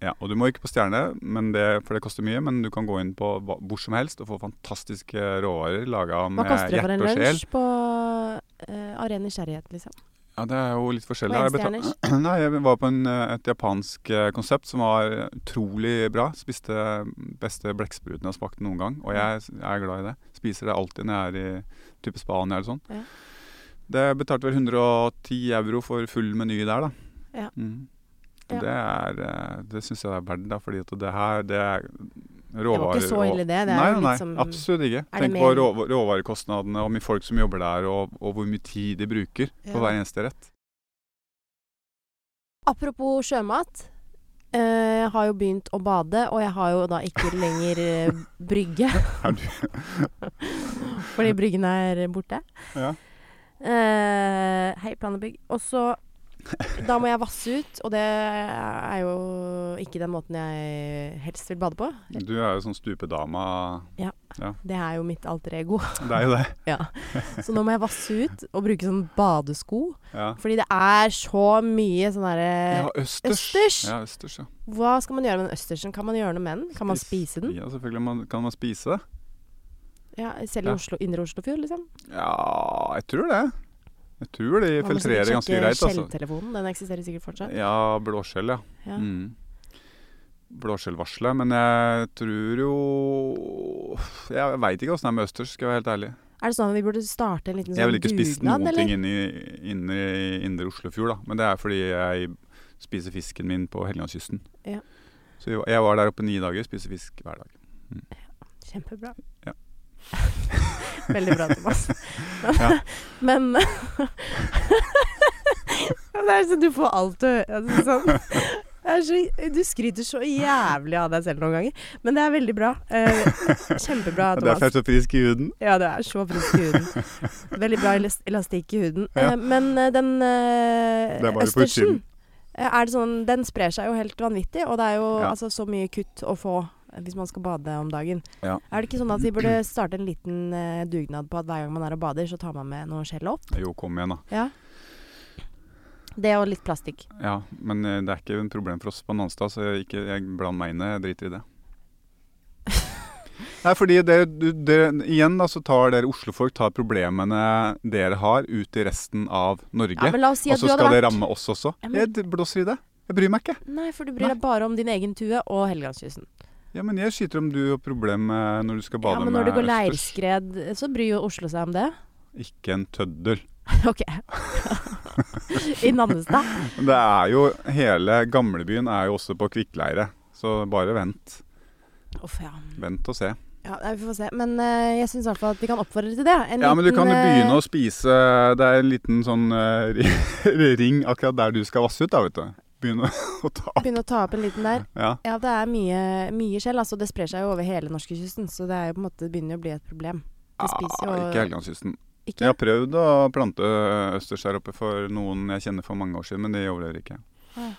B: Ja, og du må ikke på Stjerne, men det, for det koster mye. Men du kan gå inn på hva- hvor som helst og få fantastiske råvarer laga
A: Hva
B: med
A: koster det for
B: hjerte
A: en
B: og sjel.
A: lunsj på eh, av ren nysgjerrighet, liksom?
B: Ja, det er jo litt
A: På
B: forskjellig. Jeg betal- Nei, jeg var på en, eh, et japansk eh, konsept som var utrolig bra. Spiste eh, beste blekkspruten jeg har smakt noen gang, og jeg s- er glad i det. Spiser det alltid når jeg er i type Spania eller sånn.
A: Ja.
B: Det betalte vel 110 euro for full meny der, da.
A: Ja.
B: Mhm. Og
A: Ja.
B: Det, er, eh, det syns jeg er verdt, da, fordi at det her det er
A: Det var
B: råvarer
A: ikke så
B: og-
A: ille, det. Det er
B: nei,
A: jo
B: nei,
A: litt som
B: absolutt ikke.
A: det
B: Tenk på
A: mer-
B: rå, råvarekostnadene, hvor mye folk som jobber der, og, og hvor mye tid de bruker på
A: Ja.
B: hver eneste rett.
A: Apropos sjømat. eh, Jeg har jo begynt å bade, og jeg har jo da ikke lenger eh, brygge.
B: Er du,
A: Fordi bryggen er borte.
B: Ja.
A: Eh, hei, plan og bygg. Og så Da må jeg vasse ut, og det er jo ikke den måten jeg helst vil bade på.
B: du er jo sånn stupedama.
A: Det er jo mitt alter ego.
B: Det er jo det.
A: Så nå må jeg vasse ut og bruke sånn badesko.
B: Ja,
A: Fordi det er så mye sånn derre
B: ja østers.
A: østers.
B: Ja, østers, ja.
A: Hva skal man gjøre med den østersen? Kan man gjøre noe med den? Kan man
B: Spis-
A: spise den?
B: Ja, selvfølgelig. Man, kan man spise det?
A: Ja, selv i
B: Ja.
A: Oslo, indre Oslofjord, liksom?
B: Ja, jeg tror det. Jeg
A: Man
B: tror de
A: må sikkert
B: filtrerer ganske
A: sjekke
B: greit, altså.
A: Skjelltelefonen, den eksisterer sikkert fortsatt.
B: Ja, blåskjell, ja.
A: Ja.
B: Mm. Blåskjellvarselet. Men jeg tror jo Jeg veit ikke åssen det er med østers, skal jeg være helt ærlig.
A: Er det sånn at vi burde starte en liten sånn
B: Jeg ville ikke spist
A: dugnad,
B: noen
A: eller?
B: ting inne i, inne i indre Oslofjord, da. Men det er fordi jeg spiser fisken min på Helgelandskysten.
A: Ja.
B: Så vi var- jeg var der oppe ni dager, spiste fisk hver dag.
A: Kjempebra.
B: Ja.
A: Veldig bra, Thomas. Men,
B: Ja.
A: men Men det er sånn, Du får alt du altså, sånn. det er så, Du skryter så jævlig av deg selv noen ganger. Men det er veldig bra. Eh, kjempebra,
B: Og derfor er
A: Thomas.
B: jeg så frisk i huden.
A: Ja, det er så frisk i huden. Veldig bra elas- elastikk i huden. Eh,
B: Ja.
A: Men eh, den eh,
B: Det er bare på
A: østersen
B: utsiden.
A: eh, er det sånn, Den sprer seg jo helt vanvittig, og det er jo
B: Ja.
A: altså, så mye kutt å få eh, hvis man skal bade om dagen.
B: Ja.
A: Er det ikke sånn at vi burde starte en liten eh, dugnad på at hver gang man er og bader, så tar man med noe skjell opp?
B: Jo, kom igjen, da.
A: Ja. Det og litt plastikk.
B: Ja, men eh, det er ikke en problem for oss på Nonstad, så jeg, ikke, jeg blander meg inn i det. Jeg driter i det. Nei, fordi dere, du- dere, igjen da, så tar dere oslofolk tar problemene dere har, ut i resten av Norge.
A: Ja, men la oss si
B: og
A: at
B: så
A: du hadde
B: skal det
A: vært
B: ramme oss også.
A: Ja, men-
B: Jeg d- blåser i det. Jeg bryr meg ikke.
A: Nei, for du bryr deg bare om din egen tue og Helgelandskysten.
B: Ja, men jeg skyter om du har problem eh, når du skal
A: Ja,
B: bade
A: men
B: med
A: når det går
B: østers.
A: leirskred, eh, så bryr jo Oslo seg om det.
B: Ikke en tøddel.
A: Ok. I Nannestad.
B: Men Det er jo Hele gamlebyen er jo også på kvikkleire. Så bare vent.
A: Uff, ja.
B: Vent og se.
A: ja. nei, Vi får se. Men eh, jeg syns i hvert fall at vi kan oppfordre til det. En
B: Ja, men du
A: liten,
B: kan jo
A: eh,
B: begynne å spise Det er en liten sånn eh, ri- ring akkurat der du skal vasse ut, da, vet du. Begynne å ta opp.
A: begynne å ta opp en liten der.
B: Ja.
A: Ja, det er mye, mye skjell. Altså, det sprer seg jo over hele norskekysten, så det er jo på en måte, det begynner jo å bli et problem. Vi spiser jo
B: Ah, ikke Helgelandskysten.
A: Ikke?
B: Jeg har prøvd å plante østers her oppe for noen jeg kjenner for mange år siden, men det overlever ikke.
A: Ah.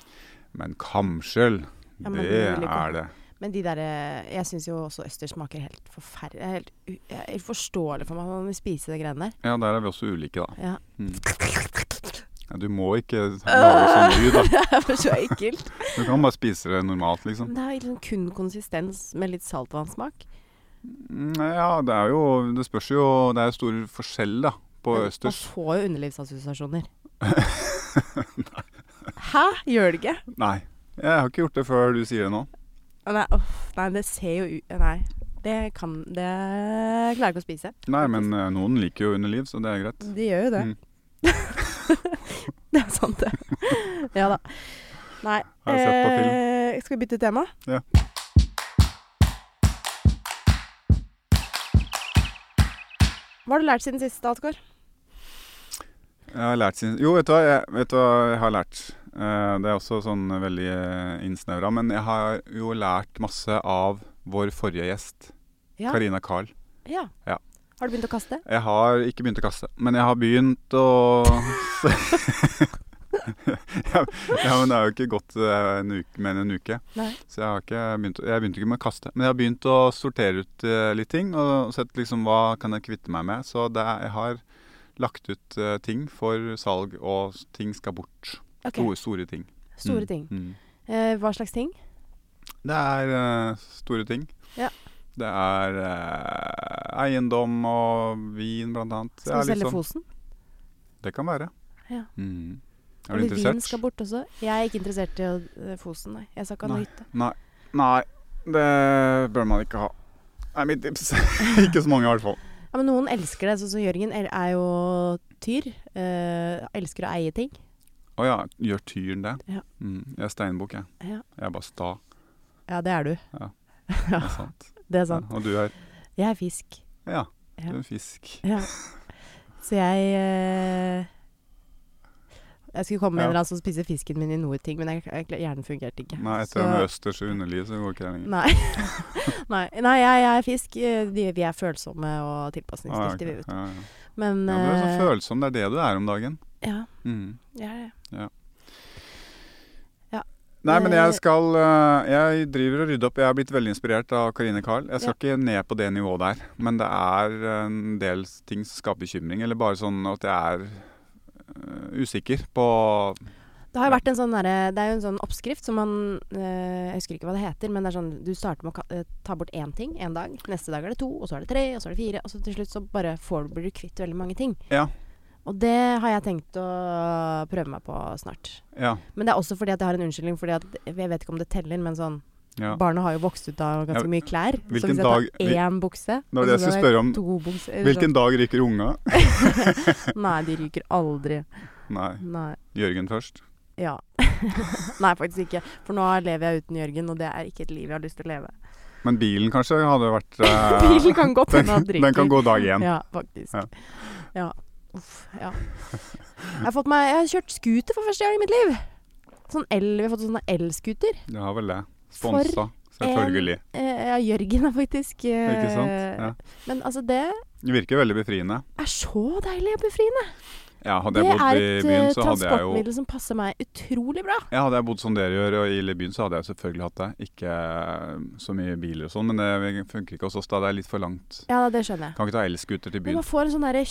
B: Men kamskjell,
A: Ja, men
B: det
A: det vil ikke-
B: er det.
A: Men de der, eh, jeg syns jo også østers smaker helt forferdelig. Helt u- jeg- er uforståelig for meg at man vil spise de greiene der.
B: Ja, der er vi også ulike, da.
A: Ja.
B: Mm. Ja, du må ikke lage sånn lyd, da.
A: det er så ekkelt.
B: Du kan bare spise det normalt, liksom.
A: Men Det er liksom kun konsistens med litt saltvannssmak.
B: Mm, Ja, det er jo Det spørs jo Det er stor forskjell, da, på
A: Men Man
B: østers.
A: får jo underlivsassosiasjoner. Hæ? Gjør det ikke?
B: Nei. Jeg har ikke gjort det før du sier det nå.
A: Å, Nei, uff, nei, det ser jo ut Nei. Det kan Det klarer jeg ikke å spise.
B: Nei, men eh, noen liker jo underliv, så det er greit.
A: De gjør jo det.
B: Mm.
A: det er sant, det. ja da. Nei.
B: Har jeg sett på film.
A: eh, skal vi bytte tema?
B: Ja.
A: Hva har du lært siden sist, Atgård?
B: Jeg har lært sin... Jo, vet du hva jeg, vet du hva jeg har lært? Eh, det er også sånn veldig eh, innsnevra. Men jeg har jo lært masse av vår forrige gjest,
A: Ja.
B: Karina Carl.
A: ja.
B: Ja.
A: Har du begynt å kaste?
B: Jeg har ikke begynt å kaste, men jeg har begynt å ja, ja, men det har jo ikke gått eh, en uke, mer enn en uke.
A: Nei.
B: Så jeg har ikke begynt, jeg begynte ikke med å kaste. Men jeg har begynt å sortere ut eh, litt ting, og sett liksom hva kan jeg kvitte meg med. Så det er, jeg har lagt ut eh, ting for salg, og s- ting skal bort.
A: Ok,
B: Store, store ting.
A: Store
B: Mm,
A: ting.
B: Mm.
A: Eh, hva slags ting?
B: Det er eh, store ting.
A: Ja.
B: Det er eh, eiendom og vin, blant annet.
A: Skal du
B: Det er litt
A: selge
B: sånn-
A: Fosen?
B: Det kan være.
A: Ja.
B: Mm. Er du
A: Eller vin
B: interessert?
A: skal bort også? Jeg er ikke interessert i å- eh, Fosen, nei. Jeg skal ikke ha noe hytte.
B: Nei. Nei, det bør man ikke ha. Nei, mitt tips. ikke så mange, i hvert fall.
A: Ja, men noen elsker det, sånn som Jørgen er, er jo tyr. Eh, elsker å eie ting.
B: Å ja, gjør tyren det?
A: Ja.
B: Mm. Jeg er steinbukk, jeg.
A: Ja,
B: Jeg er bare sta.
A: ja det er du.
B: Det er sant.
A: Det er
B: Ja,
A: sant.
B: og du er
A: Jeg er fisk.
B: Ja, du
A: Ja.
B: er en fisk.
A: Ja. Så jeg eh, Jeg skulle komme med
B: Ja.
A: en eller annen som spiser fisken min i noe ting, men jeg, jeg, hjernen fungerte ikke.
B: Nei, etter
A: Så-
B: det med østers og underliv, så går ikke det lenger.
A: Nei. nei, nei jeg, jeg er fisk. Eh, de- Vi er følsomme og
B: Ah, ja,
A: tilpasningsdyktige, vi,
B: ok.
A: vet
B: ja, ja.
A: du. Men
B: ja, du er sånn så
A: eh,
B: følsom. Det er det du er om dagen.
A: Ja,
B: Mm.
A: jeg er det.
B: Nei, men
A: Eh,
B: jeg skal eh, Jeg driver og rydder opp. Jeg er blitt veldig inspirert av Karine Carl. Jeg skal
A: Ja.
B: ikke ned på det nivået der, men det er en del ting som skaper bekymring. Eller bare sånn at jeg er eh, usikker på
A: Det har jo vært en sånn derre- Det er jo en sånn oppskrift som man eh, Jeg husker ikke hva det heter, men det er sånn Du starter med å ka- eh, ta bort én ting en dag. Neste dag er det to, og så er det tre, og så er det fire. Og så til slutt så bare får du, blir du kvitt veldig mange ting.
B: Ja.
A: Og det har jeg tenkt å prøve meg på snart.
B: Ja.
A: Men det er også fordi at jeg har en unnskyldning, fordi at jeg vet ikke om det teller, men sånn
B: ja.
A: Barna har jo vokst ut av ganske
B: Ja,
A: mye klær.
B: hvilken
A: så hvis jeg tar
B: dag- hvil-
A: én bukse
B: Det var
A: og
B: det jeg
A: så tar
B: skulle spørre om.
A: To bukser, eller
B: Hvilken dag ryker unga?
A: sånn. Nei, de ryker aldri.
B: Nei.
A: Nei.
B: Jørgen først.
A: Ja. Nei, faktisk ikke. For nå lever jeg uten Jørgen, og det er ikke et liv jeg har lyst til å leve.
B: Men bilen kanskje hadde vært eh,
A: Bilen kan godt hende han
B: Den
A: drikker.
B: kan gå dag én.
A: Ja, faktisk.
B: Ja.
A: Ja. Uff, ja. Jeg har, fått meg, jeg har kjørt scooter for første gang i mitt liv. Sånn el, vi har fått sånne elscooter.
B: Det har vel det.
A: For
B: Sponsa, selvfølgelig.
A: eh, ja, Jørgen er faktisk eh,
B: Ikke sant? Ja.
A: Men altså, det
B: Det virker veldig befriende.
A: er så deilig og befriende.
B: Ja, hadde
A: Det
B: jeg
A: er
B: bodd i
A: et eh,
B: byen, så hadde jeg jo
A: transportmiddel som passer meg utrolig bra.
B: ja, Hadde jeg bodd som dere gjør og i byen, så hadde jeg selvfølgelig hatt det. Ikke eh, så mye biler og sånn, men det funker ikke hos oss. Da det er litt for langt.
A: Ja, det skjønner jeg.
B: Kan ikke ta elskuter til
A: Men
B: byen.
A: man får en sånn derre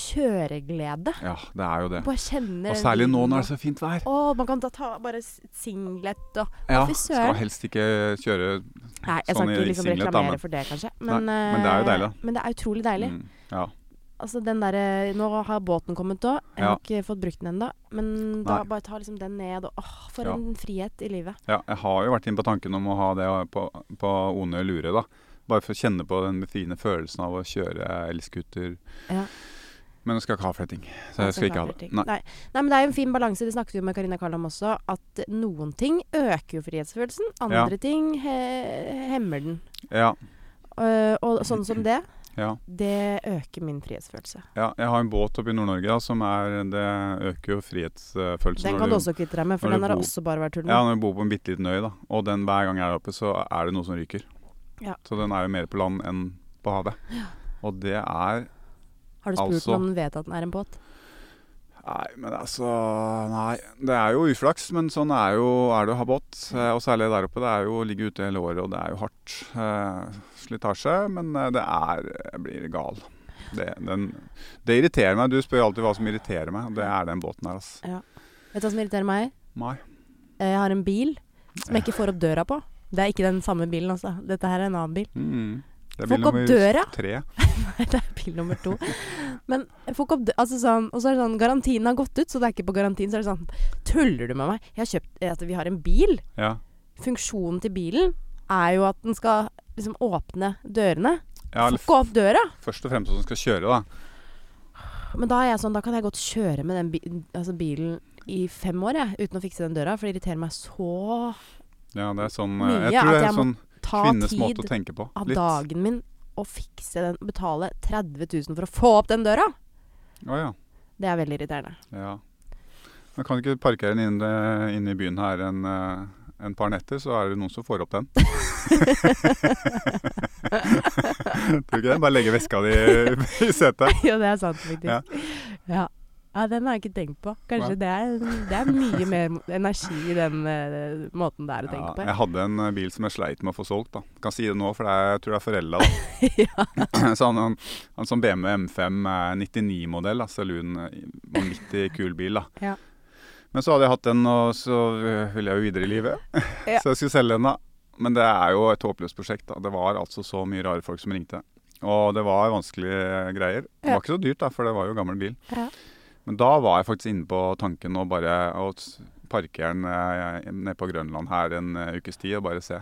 A: kjøreglede.
B: Ja, det er jo det.
A: Bare kjenner
B: Og særlig nå når det er så fint vær.
A: Å, man kan da ta bare s- singlet og
B: Ja,
A: fy
B: skal
A: søren.
B: helst ikke kjøre
A: Nei, jeg
B: Sånn
A: skal ikke
B: i
A: liksom
B: singlet, da,
A: reklamere
B: men-
A: for det, kanskje.
B: Nei,
A: Men,
B: men det er jo
A: eh,
B: deilig,
A: Men det er utrolig deilig.
B: Mm, ja.
A: Altså den derre Nå har båten kommet òg. Jeg
B: Ja.
A: har ikke fått brukt den ennå. Men da
B: Nei.
A: bare ta liksom den ned. Og åh, for
B: Ja.
A: en frihet i livet.
B: ja. Jeg har jo vært inne på tanken om å ha det på, på One Lure, da. Bare for å kjenne på den fine følelsen av å kjøre elskuter.
A: Ja.
B: Men jeg skal ikke ha fletting.
A: Altså,
B: Så jeg skal ikke ha det.
A: Nei.
B: Nei.
A: Nei. Nei, men det er jo en fin balanse. Det snakket vi med Karina Karl om også. At noen ting øker jo frihetsfølelsen. Andre ting he hemmer den.
B: Ja,
A: Eh, og sånn som det,
B: ja.
A: det øker min frihetsfølelse.
B: Ja, jeg har en båt oppe i Nord-Norge da, som er Det øker jo frihetsfølelsen.
A: Den
B: når
A: kan du også kvitte deg med, for
B: når du
A: den har
B: bor-
A: også bare vært tull
B: Ja,
A: med.
B: når du bor på en bitte liten øy, da. Og den hver gang jeg er oppe, så er det noe som ryker.
A: Ja.
B: Så den er jo mer på land enn på havet. Og det er
A: Har du spurt
B: altså-
A: om den vet at den er en båt?
B: Nei, men altså Nei. Det er jo uflaks, men sånn er jo er det å ha båt. Eh, Og særlig der oppe. Det er jo å ligge ute hele året, og det er jo hardt. Eh, slitasje. Men eh, det er Jeg blir gal. Det, den, det irriterer meg. Du spør alltid hva som irriterer meg. og Det er den båten her, altså.
A: Vet du hva som irriterer meg?
B: Nei.
A: Eh, Jeg har en bil som jeg ikke får opp døra på. Det er ikke den samme bilen, altså. Dette her er en annen bil.
B: Mm. Det
A: Får
B: blir
A: ikke opp
B: nummer
A: døra.
B: Tre.
A: Nei, det er bil nummer to. Men jeg får ikke opp dø- altså sånn, Og så er det sånn Garantien har gått ut, så det er ikke på garantien. Så er det sånn Tuller du med meg? Jeg har kjøpt eh, at Vi har en bil.
B: Ja.
A: Funksjonen til bilen er jo at den skal liksom åpne dørene.
B: ja
A: Får
B: eller
A: ikke opp døra!
B: først og fremst at den skal kjøre, da.
A: Men da er jeg sånn Da kan jeg godt kjøre med den bi altså bilen i fem år, jeg, uten å fikse den døra. For det irriterer meg så
B: Ja, det er sånn eh,
A: Mye
B: Jeg tror
A: at
B: det
A: jeg
B: er sånn
A: Ta
B: kvinnes måte
A: tid
B: å tenke på.
A: av
B: Litt. Å
A: dagen min å fikse den Betale 30 000 for å få opp den døra!
B: ja.
A: Det er veldig irriterende.
B: ja. Man kan ikke parkere den inne, inne i byen her en, eh, en par netter, så er det noen som får opp den. tror du ikke det? Bare legge veska di i setet.
A: jo, det er sant, faktisk.
B: Ja.
A: Ja. Ja. den har jeg ikke tenkt på. Kanskje
B: Nei.
A: det er, det er mye mer energi i den eh, måten det er å
B: Ja,
A: tenke
B: jeg hadde en eh, bil som jeg sleit med å få solgt. da. Kan si det nå, for det er, jeg tror det er forelda. da.
A: på. ja.
B: Så han, han, han som BMW M5 99-modell, altså lun, eh, vanvittig kul bil. da.
A: Ja.
B: Men så hadde jeg hatt den, og så øh, ville jeg jo videre i livet.
A: Ja.
B: Så jeg skulle selge den, da. Men det er jo et håpløst prosjekt. da. Det var altså så mye rare folk som ringte. Og det var vanskelige greier. Det
A: Ja.
B: var ikke så dyrt, da, for det var jo gammel bil.
A: Ja.
B: Men da var jeg faktisk inne på tanken å bare å s- parkere den eh, nede på Grønland her en eh, ukes tid og bare se.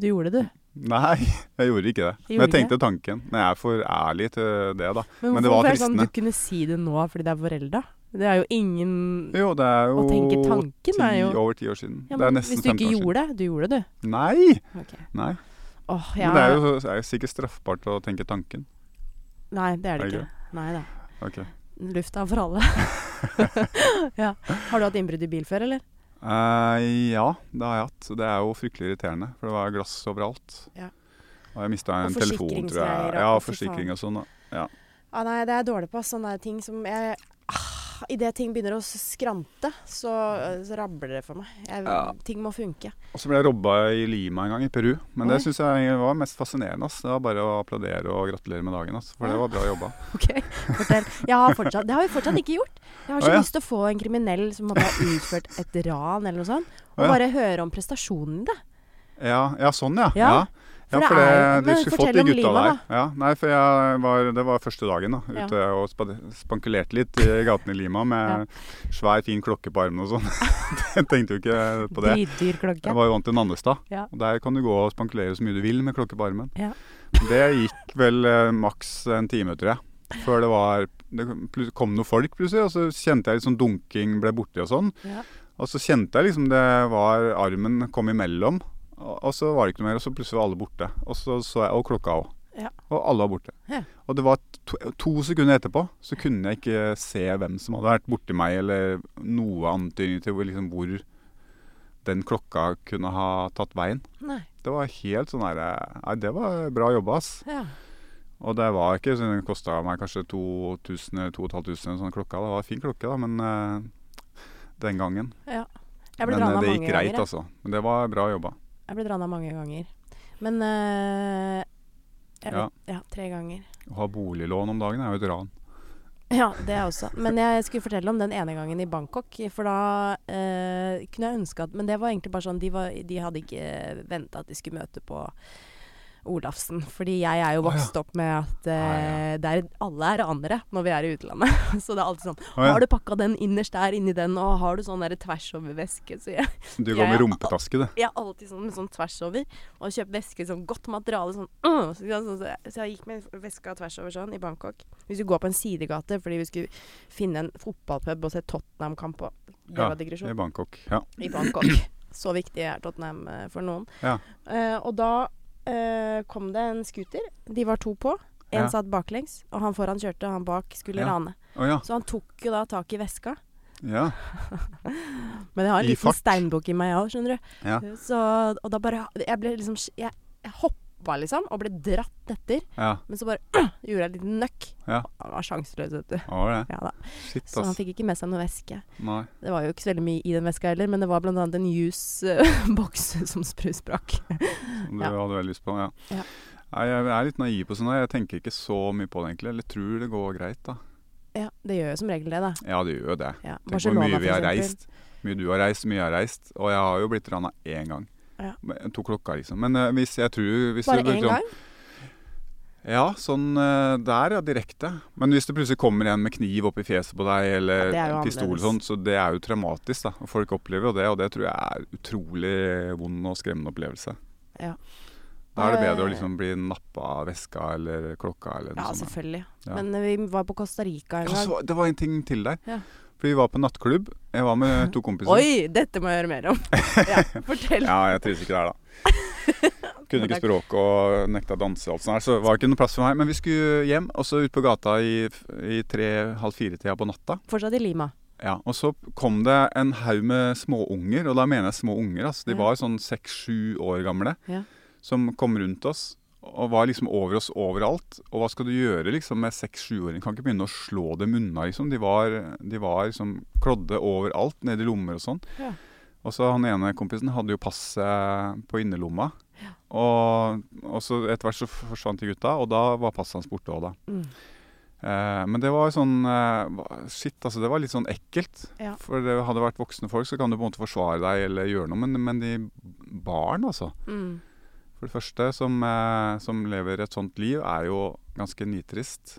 A: Du gjorde det, du.
B: Nei, jeg gjorde ikke det. Men
A: Gjorde
B: jeg tenkte tanken. Men jeg er for ærlig til det, da.
A: Men,
B: Men det
A: hvorfor
B: var
A: er sånn
B: fristende.
A: du kunne si det nå fordi det er forelda? Det er jo ingen
B: Jo, det er jo
A: Å tenke tanken er
B: ti,
A: jo
B: over ti år siden.
A: Ja,
B: det er
A: men
B: nesten
A: Hvis du
B: 15
A: ikke
B: år siden.
A: gjorde det Du gjorde det, du.
B: Nei!
A: Ok.
B: Nei.
A: Åh, ja.
B: Men det er jo, det er jo sikkert straffbart å tenke tanken.
A: Nei, det er det
B: Er det
A: ikke. Nei da.
B: Ok. Eh,
A: Lufta er for alle. ja. Har du hatt innbrudd i bil før, eller?
B: Eh, ja, det har jeg hatt. Det er jo fryktelig irriterende, for det var glass overalt.
A: Ja.
B: Og jeg mista en
A: Og
B: telefon, tror jeg.
A: forsikringsgreier og-
B: Ja,
A: å, fy
B: forsikring og sånn. da.
A: Ja, Ah, nei, det er jeg dårlig på. Sånne ting som jeg ah, Idet ting begynner å skrante, så, så rabler det for meg. Jeg,
B: Ja.
A: Ting må funke.
B: Og så ble jeg robba i Lima en gang, i Peru. Men
A: Oi.
B: det syns jeg var mest fascinerende. Ass. Det var bare å applaudere og gratulere med dagen, ass. for det
A: Ja.
B: var bra jobba.
A: Ok, fortell. Jeg har fortsatt, det har vi fortsatt ikke gjort. Jeg har så
B: Å, ja.
A: lyst til å få en kriminell som hadde utført et ran eller noe sånt, og
B: Å, ja.
A: bare høre om prestasjonen i det.
B: Ja, ja sånn ja.
A: Ja,
B: ja.
A: for det
B: ja, for
A: er-
B: det,
A: men
B: du skulle
A: fortell
B: fått de
A: om
B: gutta
A: Lima,
B: der. Ja, nei, for jeg var, det var første dagen da,
A: Ja.
B: ute og spade- spankulerte litt i gatene i Lima med svær, fin klokke på armen og sånn. Jeg tenkte jo ikke på det.
A: Dritdyr
B: Jeg
A: klokke.
B: var jo vant til Nannestad,
A: Ja.
B: og der kan du gå og spankulere så mye du vil med klokke på armen.
A: Ja.
B: Det gikk vel eh, maks en time, tror jeg, før det var det plut- kom noen folk plutselig, og så kjente jeg litt sånn dunking, ble borti og sånn.
A: Ja.
B: Og så kjente jeg liksom det var Armen kom imellom. Og, og så var det ikke noe mer, og så plutselig var alle borte. Og så så jeg Og klokka òg.
A: Ja.
B: Og alle var borte.
A: Ja.
B: Og det var to, to sekunder etterpå så kunne jeg ikke se hvem som hadde vært borti meg, eller noe antydning til hvor, liksom, hvor den klokka kunne ha tatt veien.
A: Nei.
B: Det var helt sånn herre Nei, det var bra jobba, ass.
A: Ja.
B: Og det var ikke sånn, Det kosta meg kanskje 2000 eller 2500 sånn klokka. Det var en fin klokke, da, men eh, den gangen.
A: ja. Jeg ble
B: Men eh,
A: rana
B: det
A: mange
B: gikk
A: ganger.
B: greit,
A: jeg.
B: altså. Men det var bra jobba.
A: Jeg ble rana mange ganger. Men eh, jeg
B: Ja.
A: vet, ja, tre ganger.
B: Å ha boliglån om dagen er jo et ran.
A: Ja, det er også. Men jeg skulle fortelle om den ene gangen i Bangkok. For da eh, kunne jeg ønske at Men det var egentlig bare sånn De, var, de hadde ikke venta at de skulle møte på Olafsen. Fordi jeg er jo
B: Å, ja.
A: vokst opp med at eh, det er, alle er ranere når vi er i utlandet. Så det er alltid sånn
B: Å, ja.
A: Har du pakka den innerst der, inni den, og har du sånn der tvers over veske? Så jeg,
B: Du går
A: Jeg
B: med
A: er-
B: rumpetaske, du.
A: jeg er alltid sånn med sånn tvers over. Og kjøper veske i sånn godt materiale. Sånn, øh, så, så, så, jeg- så jeg gikk med veska tvers over sånn i Bangkok. Vi skulle gå på en sidegate fordi vi skulle finne en fotballpub og se Tottenham-kamp. og Det
B: Ja,
A: var digresjon
B: I Bangkok. Ja.
A: i Bangkok. Så viktig er Tottenham eh, for noen.
B: Ja.
A: Eh, og da eh, kom det en scooter. De var to på. En
B: Ja.
A: satt baklengs, og han foran kjørte, og han bak skulle
B: Ja.
A: rane.
B: Å ja.
A: Så han tok jo da tak i veska.
B: ja.
A: Men jeg har en
B: I
A: liten
B: fart.
A: steinbukk i meg òg, skjønner du.
B: Ja.
A: Så, og da bare Jeg ble liksom Jeg, jeg hoppa liksom, og ble dratt etter.
B: Ja.
A: Men så bare øh, gjorde jeg et lite nøkk.
B: Ja.
A: Han var sjanseløs, vet du.
B: Å, det.
A: Ja da.
B: Shit,
A: Så han
B: ass.
A: fikk ikke med seg noe væske.
B: Nei.
A: Det var jo ikke så veldig mye i den veska heller, men det var bl.a. en juiceboks som spru- sprakk.
B: Som du
A: Ja.
B: hadde veldig lyst på. Ja.
A: Ja.
B: Nei, jeg er litt naiv på sånn her. Jeg tenker ikke så mye på det, egentlig. Eller tror det går greit, da.
A: Ja, det gjør jo som regel det, da.
B: Ja, det gjør jo det.
A: Ja.
B: Tenk hvor mye vi har
A: for eksempel.
B: reist. Mye du har reist, mye jeg har reist. Og jeg har jo blitt rana én gang.
A: Ja.
B: Men- To klokka, liksom. Men eh, hvis jeg tror hvis det
A: Bare
B: blir
A: én
B: sånn-
A: gang?
B: Ja, sånn eh, der, ja. Direkte. Men hvis det plutselig kommer en med kniv opp i fjeset på deg,
A: Ja,
B: eller
A: det er jo
B: en pistol
A: annerledes.
B: sånn, så det er jo traumatisk, da. Og folk opplever jo det, og det tror jeg er utrolig vond og skremmende opplevelse.
A: Ja.
B: Da er det bedre å
A: Eh,
B: liksom bli nappa av veska eller klokka eller noe
A: Ja,
B: sånt.
A: selvfølgelig.
B: Ja.
A: Men eh, vi var på Costa Rica en
B: Ja,
A: gang.
B: så, det var en ting til der.
A: Ja.
B: For vi var på nattklubb. Jeg var med to kompiser.
A: Oi, dette må jeg høre mer om. Ja, fortell.
B: Ja, jeg trives ikke der, da. Kunne ikke språket og nekta å danse og alt sånt her, så det var ikke noe plass for meg. Men vi skulle hjem, og så ut på gata i, i tre-halv fire-tida på natta.
A: Fortsatt i Lima.
B: Ja, Og så kom det en haug med småunger, og da mener jeg små unger. Altså. De
A: Ja.
B: var sånn seks-sju år gamle,
A: Ja.
B: som kom rundt oss og var liksom over oss overalt. Og hva skal du gjøre liksom med seks-sjuåringer? Kan ikke begynne å slå dem unna, liksom. De var, de var liksom klodde overalt, nede i lommer og sånn.
A: Ja.
B: Og så han ene kompisen hadde jo passet på innerlomma. Og, og så etter hvert så f- forsvant de gutta, og da var passet hans borte òg, da.
A: Mm.
B: Eh, men det var sånn eh, hva- Shit, altså. Det var litt sånn ekkelt.
A: Ja.
B: For det hadde vært voksne folk, så kan du på en måte forsvare deg eller gjøre noe. Men, men de barn, altså.
A: Mm.
B: For det første, som, eh, som lever et sånt liv, er jo ganske nitrist.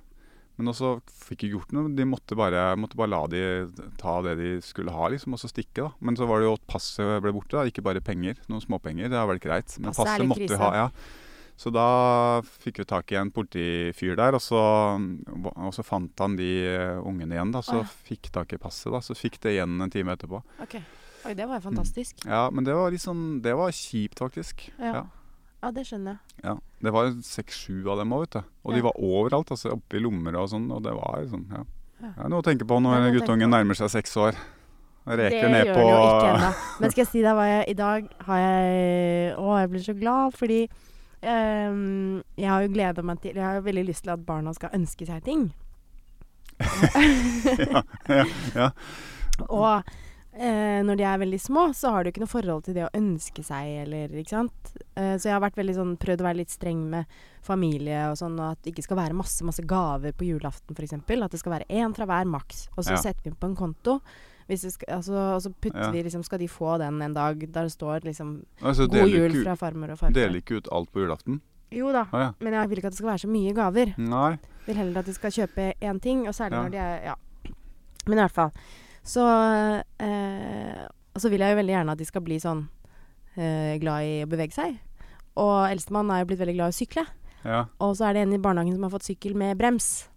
B: Men også fikk jeg gjort noe. De måtte bare, måtte bare la de ta det de skulle ha, liksom, og så stikke. da. Men så var det jo at passet ble borte, da. ikke bare penger. Noen småpenger, det er vel greit. Men
A: Passet er
B: passet,
A: litt
B: måtte
A: krise.
B: vi ha. ja. Så da fikk vi tak i en politifyr der, og så, og så fant han de eh, ungene igjen. da,
A: Å,
B: Så
A: ja.
B: fikk tak i passet, da, så fikk det igjen en time etterpå.
A: Ok. Oi, det var jo fantastisk.
B: Ja, Men det var litt sånn, det var kjipt, faktisk.
A: Mm. Ja. Ja, det skjønner jeg.
B: Ja, Det var seks-sju av dem òg, vet du. Og
A: Ja.
B: de var overalt. altså Oppi lommer og sånn. Og det var liksom ja.
A: Ja.
B: Det er noe å tenke på
A: Det er
B: når
A: noe å tenke
B: guttungen
A: på.
B: nærmer seg seks år. Han
A: det
B: Reker ned
A: gjør
B: på
A: den jo ikke ennå. Men skal jeg si deg hva jeg I dag har jeg Å, jeg blir så glad fordi ehm, jeg har jo gleda meg til Jeg har jo veldig lyst til at barna skal ønske seg ting.
B: ja, ja.
A: Og eh, når de er veldig små, så har du ikke noe forhold til det å ønske seg, eller ikke sant. Eh, så jeg har vært veldig sånn, prøvd å være litt streng med familie og sånn, og at det ikke skal være masse, masse gaver på julaften f.eks. At det skal være én fra hver maks, og så
B: Ja.
A: setter vi den på en konto. Hvis det skal, altså, og så putter
B: Ja.
A: vi liksom Skal de få den en dag der det står liksom
B: Altså,
A: 'God
B: deler
A: jul'
B: ikke,
A: fra farmor og
B: ut-
A: farfar?
B: deler ikke ut alt på julaften?
A: Jo da.
B: Å ja.
A: Men jeg vil ikke at det skal være så mye gaver.
B: Nei.
A: Vil heller at de skal kjøpe én ting, og særlig
B: Ja.
A: når de er Ja. Men i hvert fall. Så eh, Og så vil jeg jo veldig gjerne at de skal bli sånn eh, glad i å bevege seg. Og eldstemann er jo blitt veldig glad i å sykle.
B: Ja.
A: Og så er det en i barnehagen som har fått sykkel med brems.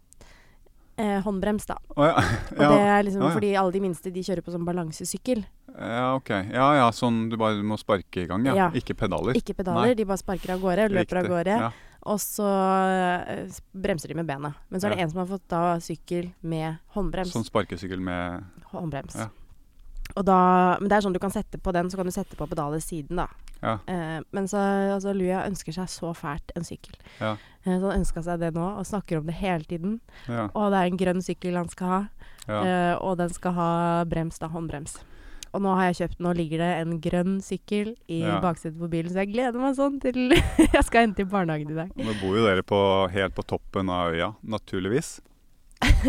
A: eh, håndbrems, da.
B: Å ja.
A: Og
B: Ja.
A: det er liksom
B: Ja, ja.
A: fordi alle de minste de kjører på sånn balansesykkel.
B: ja, ok. Ja ja, sånn du bare må sparke i gang, ja.
A: Ja.
B: Ikke pedaler.
A: Ikke pedaler, de bare sparker av gårde, løper av
B: Riktig.
A: gårde.
B: Ja.
A: Og så eh, s- bremser de med benet. Men så er det
B: Ja.
A: en som har fått da sykkel med håndbrems.
B: Sånn sparkesykkel med
A: håndbrems.
B: Ja.
A: Og da, men det er sånn du kan sette på den, så kan du sette på pedalet siden, da.
B: Ja.
A: Eh, men så altså, Luja ønsker seg så fælt en sykkel.
B: Ja.
A: Eh, så han ønska seg det nå, og snakker om det hele tiden.
B: Ja.
A: Og det er en grønn sykkel han skal ha,
B: ja.
A: eh, og den skal ha brems, da håndbrems. Og nå har jeg kjøpt, nå ligger det en grønn sykkel i
B: Ja.
A: baksetet på bilen, så jeg gleder meg sånn til jeg skal hente i barnehagen i dag.
B: Nå bor jo dere på, helt på toppen av øya, naturligvis.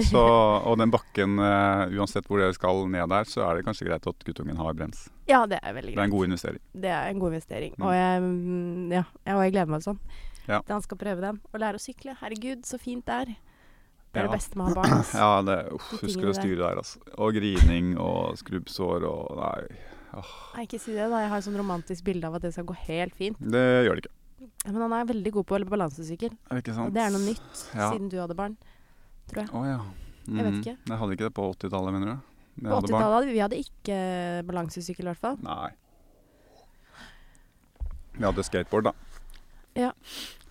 B: Så, og den bakken, eh, uansett hvor dere skal ned der, så er det kanskje greit at guttungen har brems.
A: Ja, det er veldig
B: Det er
A: greit.
B: en god investering.
A: Det er en god investering.
B: Mm.
A: Og, jeg, mm, ja, jeg- og jeg gleder meg sånn.
B: Ja.
A: Han skal prøve den. Og lære å sykle. Herregud, så fint det er. Det er det
B: Ja.
A: beste med å ha barn. ass.
B: Ja, det, uff,
A: De
B: husker
A: tingene
B: å styre der, altså. Og grining og skrubbsår og Nei,
A: Nei, ikke si det, da. Jeg har et sånn romantisk bilde av at det skal gå helt fint.
B: det gjør det ikke.
A: Ja, Men han er veldig god på balansesykkel.
B: Er det ikke sant?
A: Og det er noe nytt
B: Ja.
A: siden du hadde barn. Tror jeg.
B: Å ja.
A: Jeg vet
B: Mhm.
A: ikke.
B: Jeg hadde ikke det på 80-tallet, mener du? Jeg
A: På
B: hadde barn.
A: 80-tallet hadde vi- vi hadde ikke balansesykkel, i hvert fall.
B: Nei. Vi hadde skateboard, da.
A: Ja.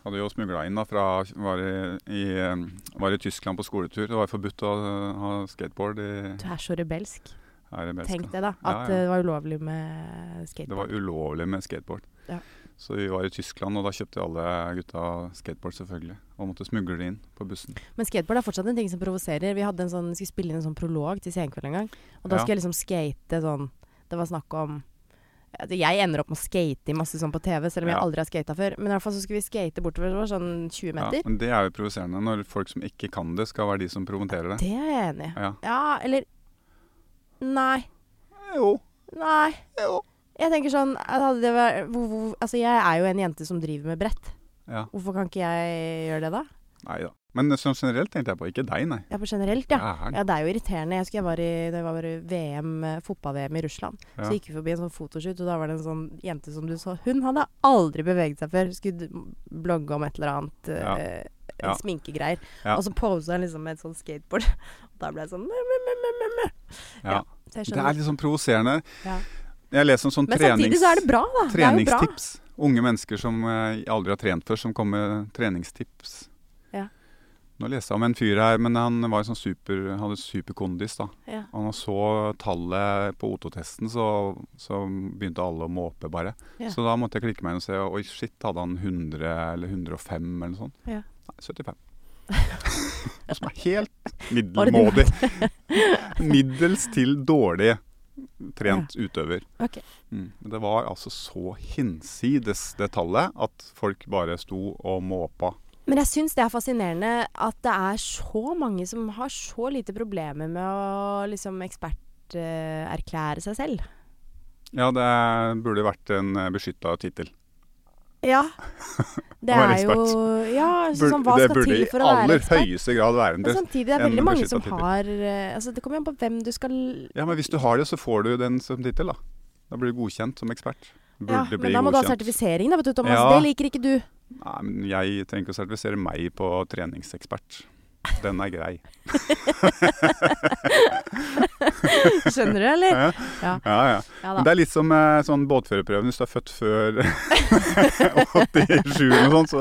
B: Hadde jo smugla inn da fra var i, i, eh, var i Tyskland på skoletur. Det var forbudt å eh, ha skateboard i
A: Du er så rebelsk.
B: her i
A: Tenk det,
B: Belgia.
A: da.
B: Ja,
A: At
B: ja.
A: eh, det var ulovlig med skateboard.
B: Det var ulovlig med skateboard.
A: Ja.
B: Så vi var i Tyskland, og da kjøpte alle gutta skateboard, selvfølgelig. Og måtte smugle det inn på bussen.
A: Men skateboard er fortsatt en ting som provoserer. Vi hadde en sånn, skulle spille inn en sånn prolog til Senkveld en gang. Og da
B: Ja.
A: skulle jeg liksom skate sånn Det var snakk om altså, Jeg ender opp med å skate i masse sånn på TV, selv om jeg
B: Ja.
A: aldri har skata før. Men i hvert fall så skulle vi skate bortover det var sånn 20 meter.
B: Ja, men det er jo provoserende når folk som ikke kan det, skal være de som promoterer det.
A: Det er jeg enig i.
B: Ja.
A: Ja, eller Nei.
B: Jo.
A: Nei.
B: Jo.
A: Jeg tenker sånn hadde det vært, hvor, hvor, Altså, jeg er jo en jente som driver med brett.
B: Ja.
A: Hvorfor kan ikke jeg gjøre det, da?
B: Nei da. Men sånn generelt tenkte jeg på. Ikke deg, nei.
A: Ja, på generelt, ja.
B: Jæren.
A: Ja, det er jo irriterende. Jeg husker jeg var i, da jeg var i VM, eh, fotball-VM i Russland.
B: Ja.
A: Så gikk vi forbi en sånn fotoshoot, og da var det en sånn jente som du så. Hun hadde aldri beveget seg før. Skulle d- blogge om et eller annet. eh,
B: Ja. Ja.
A: Sminkegreier.
B: Ja.
A: Og så posa hun liksom med et sånt skateboard. Og da ble jeg sånn mø, mø, mø, mø, mø, mø. Så
B: Ja.
A: jeg
B: Det er
A: skjønner.
B: litt sånn provoserende.
A: Ja.
B: Jeg leser om sånn
A: Men samtidig
B: trenings,
A: så er det bra, da. Det er jo bra.
B: treningstips. Unge mennesker som eh, aldri har trent før, som kommer med treningstips.
A: Ja.
B: Nå leste jeg om en fyr her, men han var jo sånn super, han hadde superkondis. da.
A: Ja.
B: Og når han så tallet på O2-testen, så, så begynte alle å måpe, bare.
A: Ja.
B: Så da måtte jeg klikke meg inn og se. Oi, shit, hadde han 100 eller 105 eller noe sånt?
A: Ja.
B: Nei, 75. Noe som er helt middelmådig. Middels til dårlig trent utøver.
A: Ok.
B: Mm. Men det var altså så hinsides det tallet at folk bare sto og måpa.
A: Men jeg syns det er fascinerende at det er så mange som har så lite problemer med å liksom eksperterklære seg selv.
B: Ja, det burde vært en beskytta tittel.
A: Ja. Det
B: Å være
A: er jo Ja, altså, sånn, hva
B: det
A: skal
B: burde
A: til
B: i
A: for å
B: aller
A: være ekspert?
B: høyeste grad være en
A: Men
B: det.
A: samtidig er det
B: en
A: veldig mange som
B: beskyttet tittel.
A: har eh, Altså, det kommer an på hvem du skal
B: Ja, Men hvis du har det, så får du den som tittel, da. Da blir du godkjent som ekspert. Burde
A: Ja,
B: bli
A: men da må du ha
B: godkjent.
A: sertifisering, da, vet du, Thomas.
B: Ja.
A: Det liker ikke du.
B: Nei, men jeg trenger ikke å sertifisere meg på treningsekspert. Den er grei.
A: Skjønner du, eller? Ja.
B: Ja, ja.
A: Ja
B: Men
A: da.
B: det er litt som eh, sånn båtførerprøven. Hvis du er født før 87 og sånn, så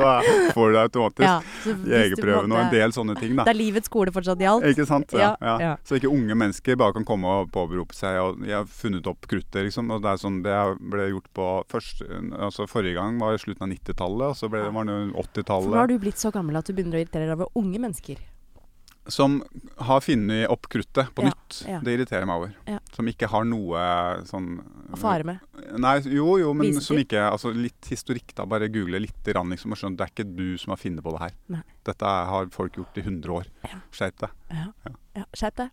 B: får du det automatisk.
A: Ja, så hvis du på en
B: Jegerprøven og en
A: måte-
B: del sånne ting,
A: Det
B: da.
A: er livets skole fortsatt i alt.
B: Ikke sant? Ja,
A: Ja, ja.
B: ja. Så ikke unge mennesker bare kan komme og påberope seg og 'jeg har funnet opp kruttet', liksom. Og det er sånn det ble gjort på først Altså forrige gang var slutten av 90-tallet, og så ble det, var det
A: For
B: jo
A: nå har
B: 80-tallet.
A: du blitt så gammel at du begynner å irritere deg over unge mennesker.
B: Som har funnet opp kruttet på
A: Ja,
B: nytt.
A: ja.
B: Det irriterer meg over.
A: Ja.
B: Som ikke har noe sånn
A: Å fare med.
B: Nei, jo, jo, men
A: Vise
B: som
A: til.
B: ikke Altså litt historikk, da. Bare google litt rann, liksom, og skjønne at det er ikke du som har funnet på det her.
A: Nei.
B: Dette har folk gjort i 100 år.
A: Ja.
B: Skjerp deg.
A: Ja. ja Skjerp deg.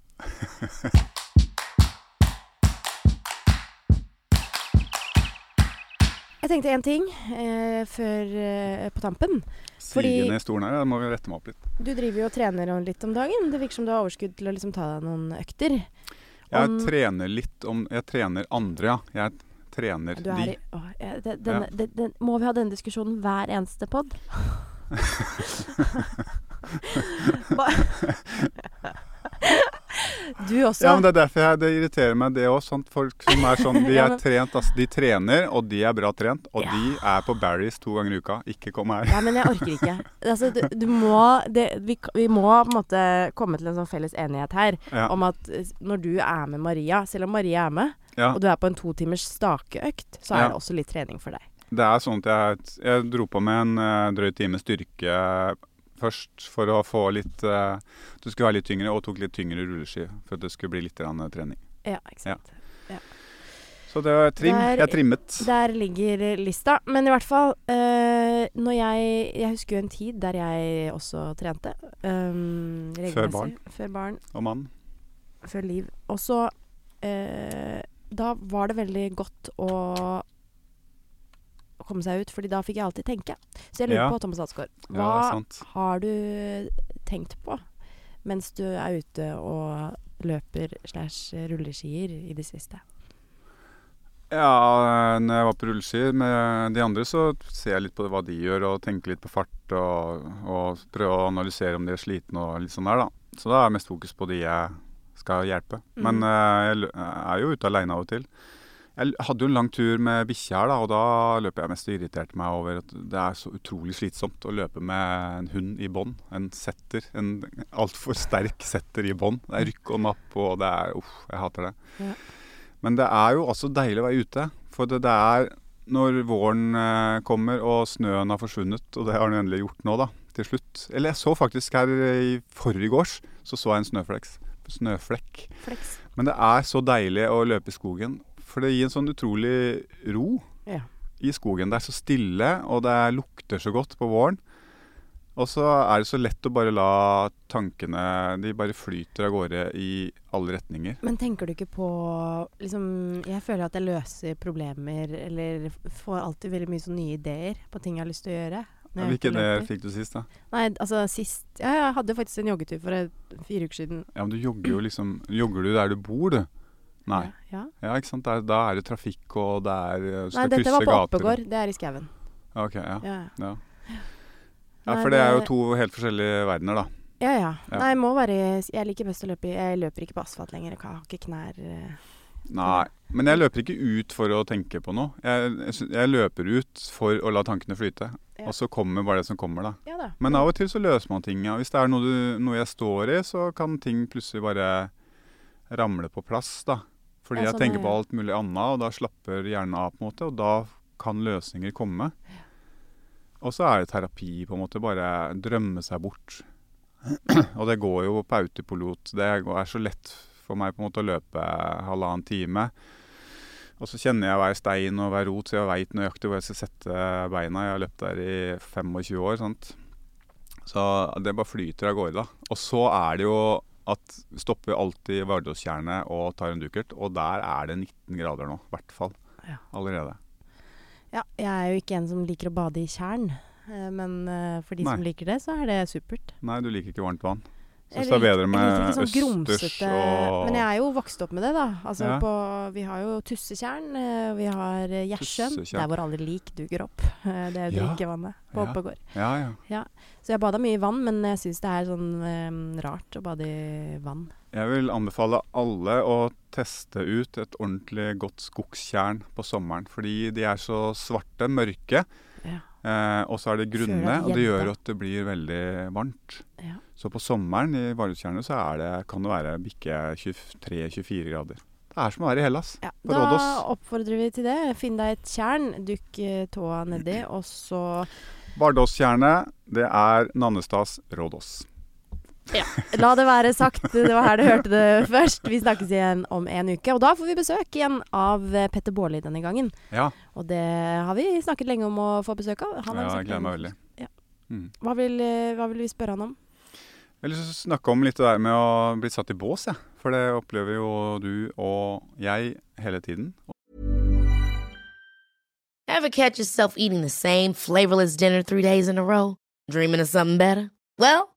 A: Jeg tenkte én ting eh, før, eh, på tampen. Fordi-
B: Sigende i stolen her. Jeg må rette meg opp litt.
A: Du driver jo og trener og litt om dagen. Det virker som du har overskudd til å liksom ta deg noen økter.
B: Jeg
A: Om-
B: trener litt om Jeg trener andre, ja. Jeg trener
A: Du er
B: de.
A: i, å, eh, det, denne, det, den, må vi ha denne diskusjonen hver eneste pod? Du også.
B: Ja, men Det er derfor jeg, det irriterer meg, det òg. Folk som er sånn De
A: Ja,
B: er
A: men-
B: trent, altså. De trener, og de er bra trent. Og
A: Ja.
B: de er på Barry's to ganger i uka. Ikke kom her.
A: Nei, men jeg orker ikke. Altså, du, du må det, vi, k- vi må på en måte komme til en sånn felles enighet her
B: Ja.
A: om at eh, når du er med Maria, selv om Maria er med,
B: Ja,
A: og du er på en to timers stakeøkt, så er
B: Ja.
A: det også litt trening for deg.
B: det er sånn at jeg, jeg dro på med en eh, drøy time styrke først for å få litt eh, Du skulle være litt tyngre, og tok litt tyngre rulleski for at det skulle bli litt grann, eh, trening.
A: Ja, ikke sant.
B: Så det var trim.
A: Der-
B: jeg trimmet.
A: Der ligger lista. Men i hvert fall eh, når jeg, jeg husker jo en tid der jeg også trente. ehm, regelmessig.
B: barn.
A: Før barn.
B: Og mann.
A: Før liv. Og så eh, Da var det veldig godt å å komme seg ut, fordi da fikk jeg alltid tenke. Så jeg lurer
B: Ja.
A: på, Thomas Hadsgaard,
B: Ja,
A: hva
B: det er sant.
A: har du tenkt på mens du er ute og løper slash rulleskier i det siste?
B: Ja, når jeg var på rulleski med de andre, så ser jeg litt på hva de gjør, og tenker litt på fart, og, og prøver å analysere om de er slitne og litt sånn der, da. Så da er jeg mest fokus på de jeg skal hjelpe. Men
A: Mm.
B: eh, jeg lø- er jo ute aleine av og til. Jeg l- hadde jo en lang tur med bikkje her, da, og da løper jeg mest og irriterte meg over at det er så utrolig slitsomt å løpe med en hund i bånd. En setter. En altfor sterk setter i bånd. Det er rykk og napp, og det er Uff, jeg hater det.
A: Ja.
B: Men det er jo også deilig å være ute. For det, det er når våren eh, kommer og snøen har forsvunnet, og det har den endelig gjort nå, da, til slutt. Eller jeg så faktisk her i forgårs, så så jeg en snøfleks. Snøflekk.
A: Flex.
B: Men det er så deilig å løpe i skogen, for det gir en sånn utrolig ro
A: Ja.
B: i skogen. Det er så stille, og det lukter så godt på våren. Og så er det så lett å bare la tankene De bare flyter av gårde i alle retninger.
A: Men tenker du ikke på liksom, Jeg føler at jeg løser problemer eller f- får alltid veldig mye sånne nye ideer på ting jeg har lyst til å gjøre. når jeg er ute og
B: Hvilken idé
A: løper.
B: fikk du sist, da?
A: Nei, altså sist Ja, jeg hadde faktisk en joggetur for eh, fire uker siden.
B: Ja, men du jogger jo liksom Jogger du der du bor, du? Nei.
A: Ja.
B: Ja, ikke sant? Der, da er det trafikk, og det er eh,
A: Nei,
B: skal
A: dette var
B: krysse
A: på
B: gater.
A: Oppegård. Det er i skauen.
B: Ja, ok, ja.
A: Ja.
B: Ja. ja,
A: Nei,
B: for det er jo
A: det-
B: to helt forskjellige verdener, da.
A: Ja, ja.
B: Ja.
A: Nei, jeg må være i- Jeg liker best å løpe i Jeg løper ikke på asfalt lenger. Jeg har ikke knær eh.
B: Nei. Men jeg løper ikke ut for å tenke på noe. Jeg, jeg, sy- jeg løper ut for å la tankene flyte.
A: Ja.
B: Og så kommer bare det som kommer, da.
A: Ja da.
B: Men av og til så løser man ting. Ja. Hvis det er noe, du, noe jeg står i, så kan ting plutselig bare ramle på plass. da. Fordi
A: Ja,
B: jeg
A: sånn er
B: tenker på
A: det.
B: alt mulig annet, og da slapper hjernen av. på en måte, Og da kan løsninger komme. Og så er det terapi, på en måte. Bare drømme seg bort. og det går jo på autopilot. Det går- er så lett for meg på en måte å løpe halvannen time. Og så kjenner jeg hver stein og hver rot, så jeg veit nøyaktig hvor jeg skal sette beina. Jeg har løpt der i 25 år. sant? Så det bare flyter av gårde, da. Og så er det jo at vi stopper alltid Vardåstjernet og tar en dukkert, og der er det 19 grader nå. I hvert fall.
A: Ja.
B: Allerede.
A: Ja, jeg er jo ikke en som liker å bade i tjern. eh, Men eh, for de
B: Nei.
A: som liker det, så er det supert.
B: Nei, du liker ikke varmt vann. Syns det
A: Jeg
B: er bedre
A: liker- jeg
B: med
A: liker ikke sånn
B: østers
A: grumsete-
B: og
A: Men jeg er jo vokst opp med det, da. Altså,
B: Ja.
A: på, vi har jo Tussetjern, eh, vi har eh, Gjersjøen.
B: Tussetjern.
A: Der hvor alle lik duker opp. eh, Det er jo
B: Ja.
A: drikkevannet på
B: Ja.
A: Oppegård.
B: Ja, ja.
A: Så jeg bada mye i vann, men jeg syns det er sånn eh, rart å bade i vann.
B: Jeg vil anbefale alle å teste ut et ordentlig godt skogstjern på sommeren. Fordi de er så svarte, mørke,
A: Ja.
B: eh, og så er de
A: Føler
B: grunne.
A: at
B: Og det
A: jenta-
B: gjør at det blir veldig varmt.
A: Ja.
B: Så på sommeren i Vardøstjernet så er det, kan det være bikke 23-24 grader. Det er som å være i Hellas.
A: Ja,
B: På
A: da
B: Rådås.
A: oppfordrer vi til det. Finn deg et tjern, dukk eh, tåa nedi, og så
B: Vardåstjernet, det er Nannestads Rådås.
A: La det være sagt. Det var her du hørte det først. Vi snakkes igjen om en uke. Og da får vi besøk igjen av eh, Petter Baarli denne gangen.
B: Ja,
A: Og det har vi snakket lenge om å få besøk av. Han har vi
B: ja, jeg
A: snakket
B: gleder
A: lenge
B: meg
A: om.
B: veldig.
A: Ja.
B: Mm.
A: Hva vil, eh, hva vil vi spørre han om?
B: Jeg har lyst til å snakke om litt det der med å bli satt i bås, jeg. For det opplever jo du og jeg hele tiden.
C: Ever catch yourself eating the same flavorless dinner three days in a row? Dreaming of something better? Well,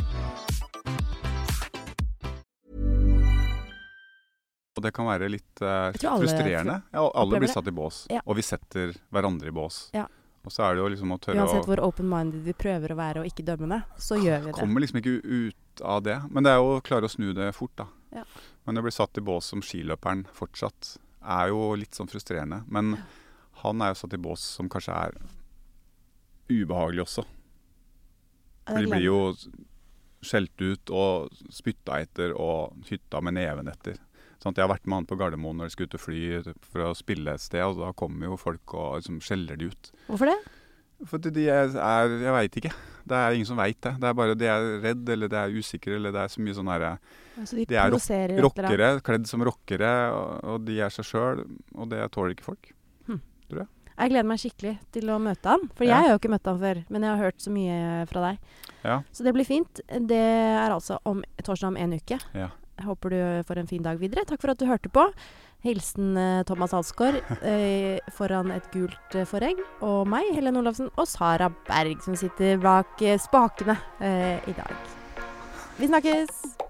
B: Og det kan være litt eh,
A: tror alle
B: frustrerende. Ja, alle
A: opplever
B: blir
A: det.
B: satt i bås.
A: Ja.
B: Og vi setter hverandre i bås.
A: Ja.
B: Og så er det jo liksom å tørre
A: Uansett
B: å
A: hvor open-minded vi prøver å være og ikke dømmende, så gjør vi det.
B: Kommer liksom ikke ut av det. Men det er jo å klare å snu det fort, da.
A: Ja.
B: Men å bli satt i bås som skiløperen fortsatt er jo litt sånn frustrerende. Men han er jo satt i bås som kanskje er ubehagelig
A: Ja,
B: også. For
A: Eh, det
B: de
A: gleder
B: blir
A: jeg
B: jo skjelt ut og spytta etter og hytta med neven etter. Sånn at jeg har vært med han på Gardermoen når de skulle ut og fly for å spille et sted, og da kommer jo folk og liksom skjeller de ut.
A: meg. Hvorfor det?
B: Fordi de er, er Jeg veit ikke. Det er ingen som veit det. Det er bare de er redd, eller de er usikre, eller det er så mye sånn herre
A: Altså, de
B: Det er rock-
A: provoserer et eller annet.
B: Rockere, kledd som rockere, og, og de er seg sjøl, og det tåler ikke folk.
A: Jeg gleder meg skikkelig til å møte han. For
B: Ja.
A: jeg har jo ikke møtt han før, men jeg har hørt så mye eh, fra deg.
B: Ja.
A: Så det blir fint. Det er altså om torsdag om en uke.
B: Ja.
A: Jeg håper du får en fin dag videre. Takk for at du hørte på. Hilsen eh, Thomas Alsgaard eh, foran et gult eh, foregg. Og meg, Helene Olafsen, og Sara Berg, som sitter bak eh, spakene eh, i dag. Vi snakkes!